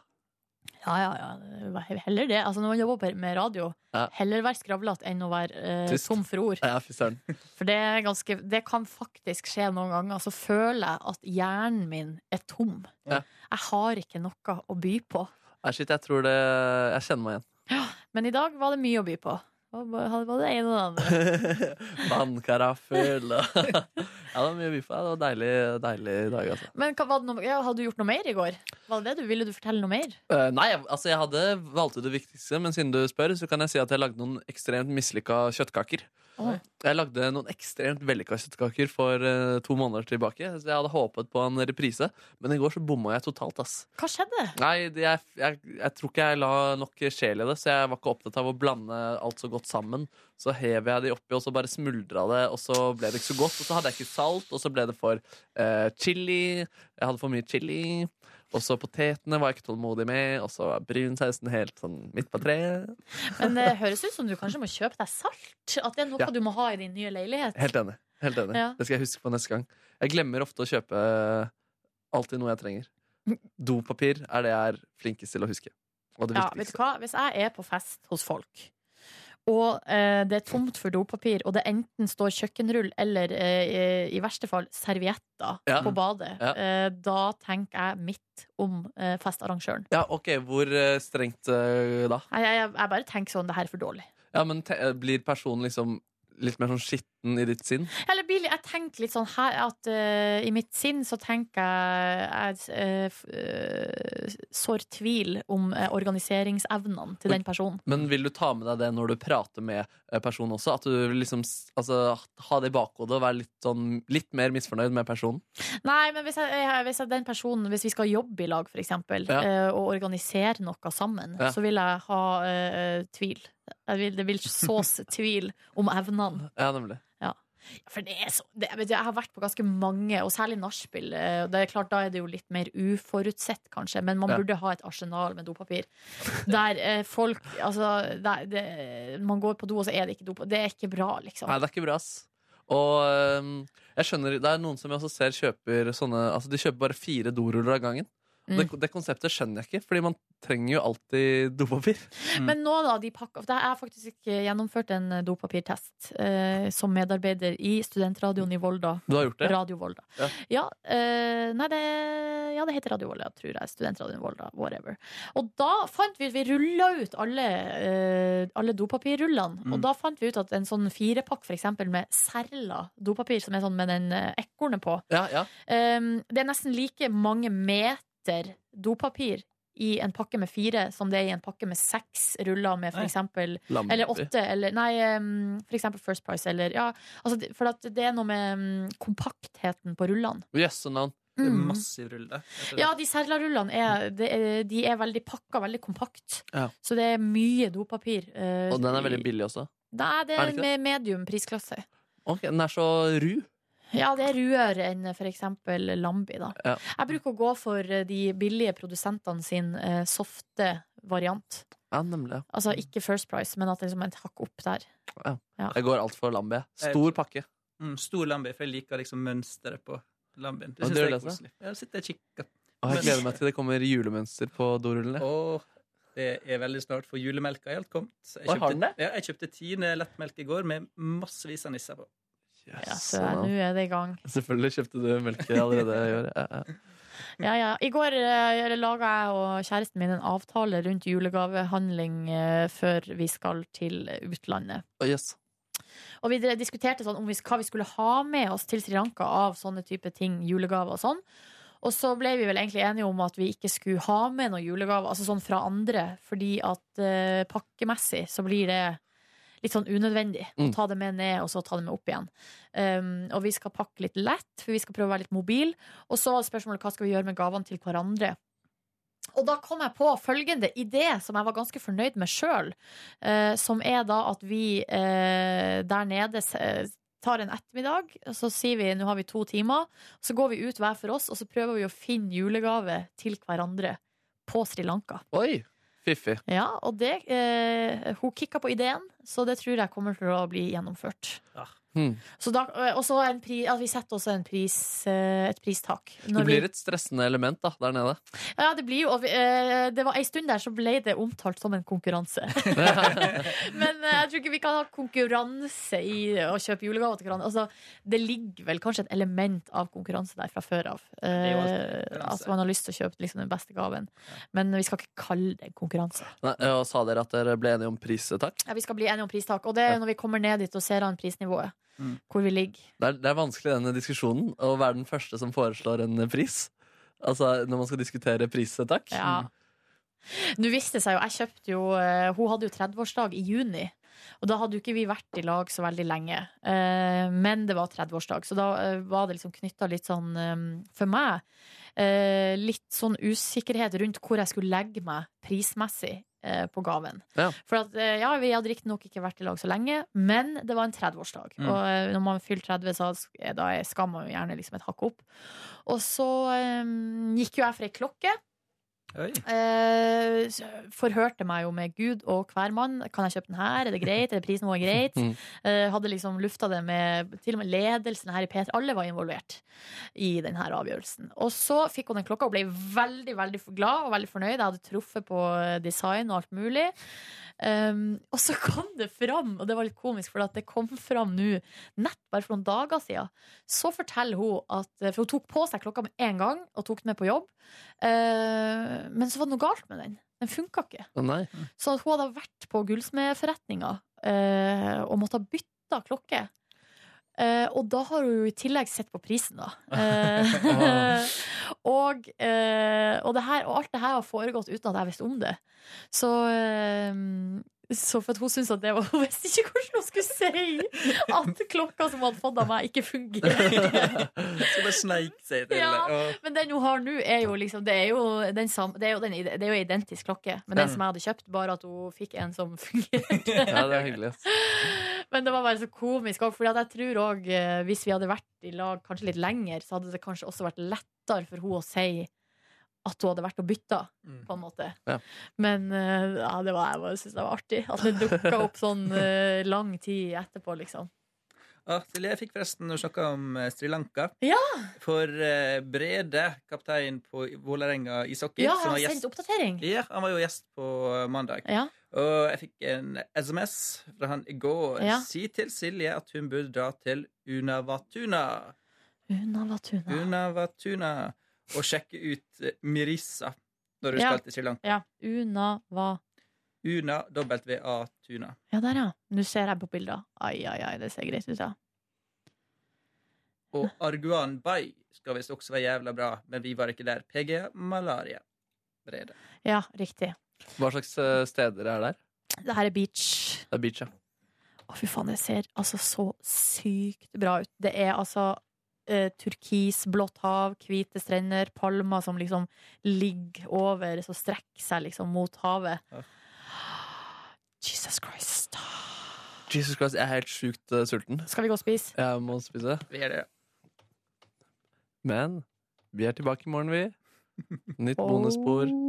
S2: Ja, ja, ja. det var Heller det. Altså, når man jobber med radio,
S3: Ja.
S2: heller være skravlete enn å være eh,
S3: Tyst.
S2: tom for ord.
S3: Ja, fy søren.
S2: For det, er ganske, det kan faktisk skje noen ganger. Så føler jeg at hjernen min er tom.
S3: Ja.
S2: Jeg har ikke noe å by på.
S3: Nei, shit, jeg tror det Jeg kjenner meg igjen.
S2: Men i dag var det mye å by på. Det var bare- Hadde både det ene og det andre.
S3: Vannkaraffel og Ja, det var mye biffa. Det var deilig, deilig dag, altså.
S2: Men hva, var det noe, ja, hadde du gjort noe mer i går? Var det det du, ville du fortelle noe mer?
S3: Eh, nei, jeg- altså jeg hadde valgt ut det viktigste, men siden du spør, så kan jeg si at jeg lagde noen ekstremt mislykka kjøttkaker.
S2: Oi.
S3: Jeg lagde noen ekstremt vellykka kjøttkaker for eh, to måneder tilbake, så jeg hadde håpet på en reprise, men i går så bomma jeg totalt, ass.
S2: Hva skjedde?
S3: Nei, det, jeg, jeg, jeg tror ikke jeg la nok sjel i det, så jeg var ikke opptatt av å blande alt så godt sammen. Så hev jeg de oppi, og så bare smuldra det, og så ble det ikke så godt. Og så hadde jeg ikke salt, og så ble det for eh, chili. Jeg hadde for mye chili. Og så potetene var jeg ikke tålmodig med, og så var brunsausen helt sånn midt på treet.
S2: Men det høres ut som du kanskje må kjøpe deg salt. At det er noe
S3: Ja.
S2: du må ha i din nye leilighet.
S3: Helt enig. Helt enig.
S2: Ja.
S3: Det skal jeg huske på neste gang. Jeg glemmer ofte å kjøpe alltid noe jeg trenger. Dopapir er det jeg er flinkest til å huske. Og det
S2: Ja,
S3: viktigste.
S2: vet du hva? Hvis jeg er på fest hos folk, og eh, det er tomt for dopapir, og det enten står kjøkkenrull eller eh, i verste fall servietter
S3: Ja.
S2: på badet,
S3: Ja.
S2: eh, da tenker jeg mitt om eh, festarrangøren.
S3: Ja, ok, Hvor eh, strengt eh, da?
S2: Jeg, jeg, jeg bare tenker sånn, det her er for dårlig.
S3: Ja, men te eh, Blir personen liksom litt mer sånn skitten i ditt sinn?
S2: Eller Billy, jeg tenker litt sånn her at eh, i mitt sinn så tenker jeg jeg eh, f- eh, sår tvil om eh, organiseringsevnene til den personen.
S3: Men vil du ta med deg det når du prater med eh, personen også? At du liksom s- altså, ha det i bakhodet og være litt, sånn, litt mer misfornøyd med personen?
S2: Nei, men hvis, jeg, jeg- hvis jeg, den personen Hvis vi skal jobbe i lag, for eksempel,
S3: Ja.
S2: eh, og organisere noe sammen,
S3: Ja.
S2: så vil jeg ha eh, tvil. Jeg vil, det vil sås tvil om evnene.
S3: Ja, nemlig.
S2: Ja. For det er så det, vet du, Jeg har vært på ganske mange, og særlig nachspiel. eh, og Det er klart, Da er det jo litt mer uforutsett, kanskje, men man
S13: Ja.
S2: burde ha et arsenal med dopapir. Der eh, folk Altså, der, det, man går på do, og så er det ikke dopapir. Det er ikke bra, liksom.
S3: Nei, det er ikke bra, ass. Og øhm, jeg skjønner, det er noen som jeg også ser kjøper sånne Altså, de kjøper bare fire doruller av gangen.
S2: Mm.
S3: Det, det konseptet skjønner jeg ikke, fordi man trenger jo alltid dopapir.
S2: Men nå da, de pakker for Jeg har faktisk ikke gjennomført en dopapirtest eh, som medarbeider i studentradioen i Volda.
S3: Du har gjort det?
S2: Radio Volda.
S3: Ja.
S2: Ja, eh, nei, det, ja, det heter Radio Volda, tror jeg. Studentradioen Volda, whatever. Og da fant vi at vi rulla ut alle, eh, alle dopapirrullene.
S13: Mm.
S2: Og da fant vi ut at en sånn firepakk for eksempel med Serla dopapir, som er sånn med den eh, ekornet på,
S3: Ja, ja.
S2: Um, det er nesten like mange meter dopapir i en pakke med fire som det er i en pakke med seks ruller med for
S13: Nei.
S2: eksempel
S13: Lampi.
S2: Eller åtte, eller Nei, um, for eksempel First Price, eller Ja, altså, det- for at det er noe med um, kompaktheten på rullene.
S3: Jøsse navn.
S2: Det er Mm.
S12: Massiv rulle.
S2: Ja, de Serla-rullene er, det er, de er veldig pakka, veldig kompakt.
S3: Ja.
S2: Så det er mye dopapir. uh,
S3: Og den er veldig billig også.
S2: Nei, det
S3: Er
S2: er
S3: det ikke
S2: med medium prisklasse.
S3: Ok, Den er så ru.
S2: Ja, det er ruere enn for eksempel Lambi, da.
S3: Ja.
S2: Jeg bruker å gå for eh, de billige produsentene sin eh, softe variant.
S3: Ja, nemlig. ja.
S2: Altså ikke First Price, men at det liksom er et hakk opp der. Ja.
S3: Jeg går altfor lambi. Stor pakke.
S12: Mm, stor lambi, for jeg liker liksom mønsteret på lambien.
S3: Ja,
S12: Det
S3: det altså. gjør
S12: syns jeg er
S3: det,
S12: koselig. Jeg sitter og kikker.
S3: Og jeg gleder meg til det kommer julemønster på dorullene.
S12: Åh, det er veldig snart, for julemelka er helt kommet. Så
S3: Oi, har den det?
S12: ja, jeg kjøpte Tine lettmelk i går med massevis av nisser på.
S2: Ja, så eh, nå er det i gang.
S3: sånn. Selvfølgelig kjøpte du melke allerede i år. Ja, ja.
S2: Ja, ja. I går uh, laga jeg og kjæresten min en avtale rundt julegavehandling eh, før vi skal til utlandet.
S3: Å, jøss.
S2: Og vi dre- diskuterte sånn om vi, hva vi skulle ha med oss til Sri Lanka av sånne type ting, julegaver og sånn. Og så ble vi vel egentlig enige om at vi ikke skulle ha med noen julegaver, altså sånn fra andre, fordi at eh, pakkemessig så blir det litt sånn unødvendig å
S13: Mm.
S2: ta det med ned og så ta det med opp igjen. Um, og vi skal pakke litt lett, for vi skal prøve å være litt mobil. Og så var det spørsmålet hva skal vi gjøre med gavene til hverandre. Og da kom jeg på følgende idé, som jeg var ganske fornøyd med sjøl. Eh, som er da at vi eh, der nede s- eh, tar en ettermiddag, og så sier vi nå har vi to timer. Så går vi ut hver for oss, og så prøver vi å finne julegave til hverandre på Sri Lanka.
S3: Oi, fiffig.
S2: Ja,
S3: Ah.
S2: og det eh, Hun kicka på ideen, så det tror jeg kommer til å bli gjennomført. Så da, eh, og så en pri, ja, vi setter også en pris, eh, et pristak.
S3: Det blir et stressende element da, der nede.
S2: Ja, det blir jo og vi- eh, Det var ei stund der så ble det omtalt som en konkurranse. Men eh, jeg tror ikke vi kan ha konkurranse i å kjøpe julegaver til hverandre. Altså, det ligger vel kanskje et element av konkurranse der fra før av.
S3: er jo
S2: Eh,
S3: alltid konkurranse.
S2: altså man har lyst til å kjøpe liksom, den beste gaven. Men vi skal ikke kalle det en konkurranse.
S3: Nei, og sa dere at dere ble enige om pris, takk?
S2: Ja, vi skal bli enige om pristak, og det er når vi kommer ned dit og ser an prisnivået.
S3: Mm.
S2: Hvor vi ligger.
S3: Det er, det er vanskelig denne diskusjonen å være den første som foreslår en eh, pris. Altså når man skal diskutere prissetak.
S2: Ja. Nå viste det seg jo, jeg kjøpte jo eh, Hun hadde jo 30-årsdag i juni. Og da hadde jo ikke vi vært i lag så veldig lenge. Eh, men det var 30-årsdag, så da eh, var det liksom knytta litt sånn eh, For meg eh, litt sånn usikkerhet rundt hvor jeg skulle legge meg prismessig eh, på gaven.
S3: Ja.
S2: For at, eh, ja, vi hadde riktignok ikke vært i lag så lenge, men det var en 30-årsdag.
S13: Mm.
S2: Og eh, når man fyller 30, så er- da er- skal man jo gjerne liksom et hakk opp. Og så eh, gikk jo jeg for ei klokke. Eh, forhørte meg jo med Gud og hver mann. Kan jeg kjøpe den her? Er det greit? Er det prisnivået greit?
S13: Mm.
S2: Eh, hadde liksom lufta det med til og med ledelsen her i P3. Alle var involvert i denne avgjørelsen. Og så fikk hun den klokka og ble veldig veldig glad og veldig fornøyd. Jeg hadde truffet på design og alt mulig. Um, og så kom det fram, og det var litt komisk, for at det kom fram nå, nett bare for noen dager siden, så forteller hun at eh, For hun tok på seg klokka med en gang og tok den med på jobb, Eh, men så var det noe galt med den. Den funka ikke.
S3: Å, Nei.
S2: Så at hun hadde vært på gullsmedforretninga eh, og måtte ha bytta klokke. Eh, og da har hun i tillegg sett på prisen, da. Eh, og, eh, og, det her, og alt det her har foregått uten at jeg visste om det. Så, eh, så for at hun syntes at det var Hun visste ikke hvordan hun skulle si at klokka som hun hadde fått av meg, ikke fungerer.
S12: Så det sneik seg til.
S2: Ja,
S12: og-
S2: men den hun har nå, er jo liksom Det er jo den samme Det er jo, den, det er jo identisk klokke med den
S3: Ja.
S2: som jeg hadde kjøpt, bare at hun fikk en som fungerte.
S3: Ja, det er hyggelig. ass.
S2: Men det var bare så komisk òg, for jeg tror òg hvis vi hadde vært i lag kanskje litt lenger, så hadde det kanskje også vært lettere for hun å si at hun hadde vært og bytta, på en måte.
S3: Ja.
S2: Men eh, ja, det var, jeg bare syntes det var artig at det dukka opp sånn eh, lang tid etterpå, liksom.
S12: Ah, Silje, jeg fikk forresten å snakke om eh, Sri Lanka.
S2: Ja!
S12: For eh, Brede, kaptein på Vålerenga ishockey
S2: Ja, jeg
S12: som var
S2: har
S12: gjest-
S2: sendt oppdatering.
S12: Ja, han var jo gjest på eh, mandag.
S2: Ja.
S12: Og jeg fikk en SMS fra han i går.
S2: Ja.
S12: Si til Silje at hun burde dra til Unavatuna.
S2: Unavatuna.
S12: Unavatuna. Og sjekke ut eh, Mirissa når hun
S2: Ja.
S12: skal til Sri Lanka.
S2: Ja. Unava...
S12: Una W-A-tuna.
S2: Ja, der, ja. Nå ser jeg på bilder. Ai, ai, ai, det ser greit ut, ja.
S12: Og Arguan Bay skal visst også være jævla bra, men vi var ikke der. PG malaria. Brede.
S2: Ja, riktig.
S3: Hva slags eh, steder er der?
S2: Det her er beach.
S3: Det er beach, ja.
S2: Å, fy faen, det ser altså så sykt bra ut. Det er altså eh, turkisblått hav, hvite strender, palmer som liksom ligger over, som strekker seg liksom mot havet. Jesus Christ.
S3: Jesus Christ, jeg er helt sjukt eh, sulten.
S2: Skal vi gå og spise?
S3: Jeg må spise.
S12: Vi er det.
S3: Men vi er tilbake i morgen, vi. Nytt bonusspor.
S2: Oh.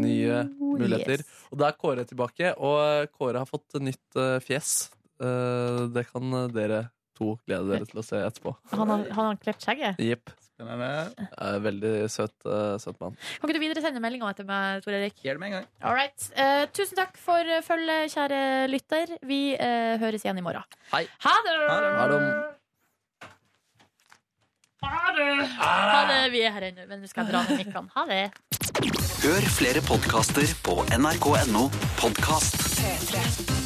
S3: Nye muligheter. Og da er Kåre tilbake, og Kåre har fått nytt eh, fjes. Eh, det kan dere to glede dere til å se etterpå.
S2: Han har, han har klept skjegget.
S3: Jepp. Eh, Veldig søt, eh, søt mann.
S2: Kan ikke du videresende meldinga etter meg, Tor Erik?
S12: Gjør det med en gang.
S2: All right. Eh, tusen takk for eh, følget, kjære lytter. Vi eh, høres igjen i morgen.
S3: Hei.
S2: Ha det!
S3: Ha det.
S2: Ha det!
S3: Ah.
S2: Ha det. Vi er her ennå, men nå skal jeg dra ned mikkene. Ha det.
S7: Hør flere podkaster på nrk.no podkast.
S13: P3.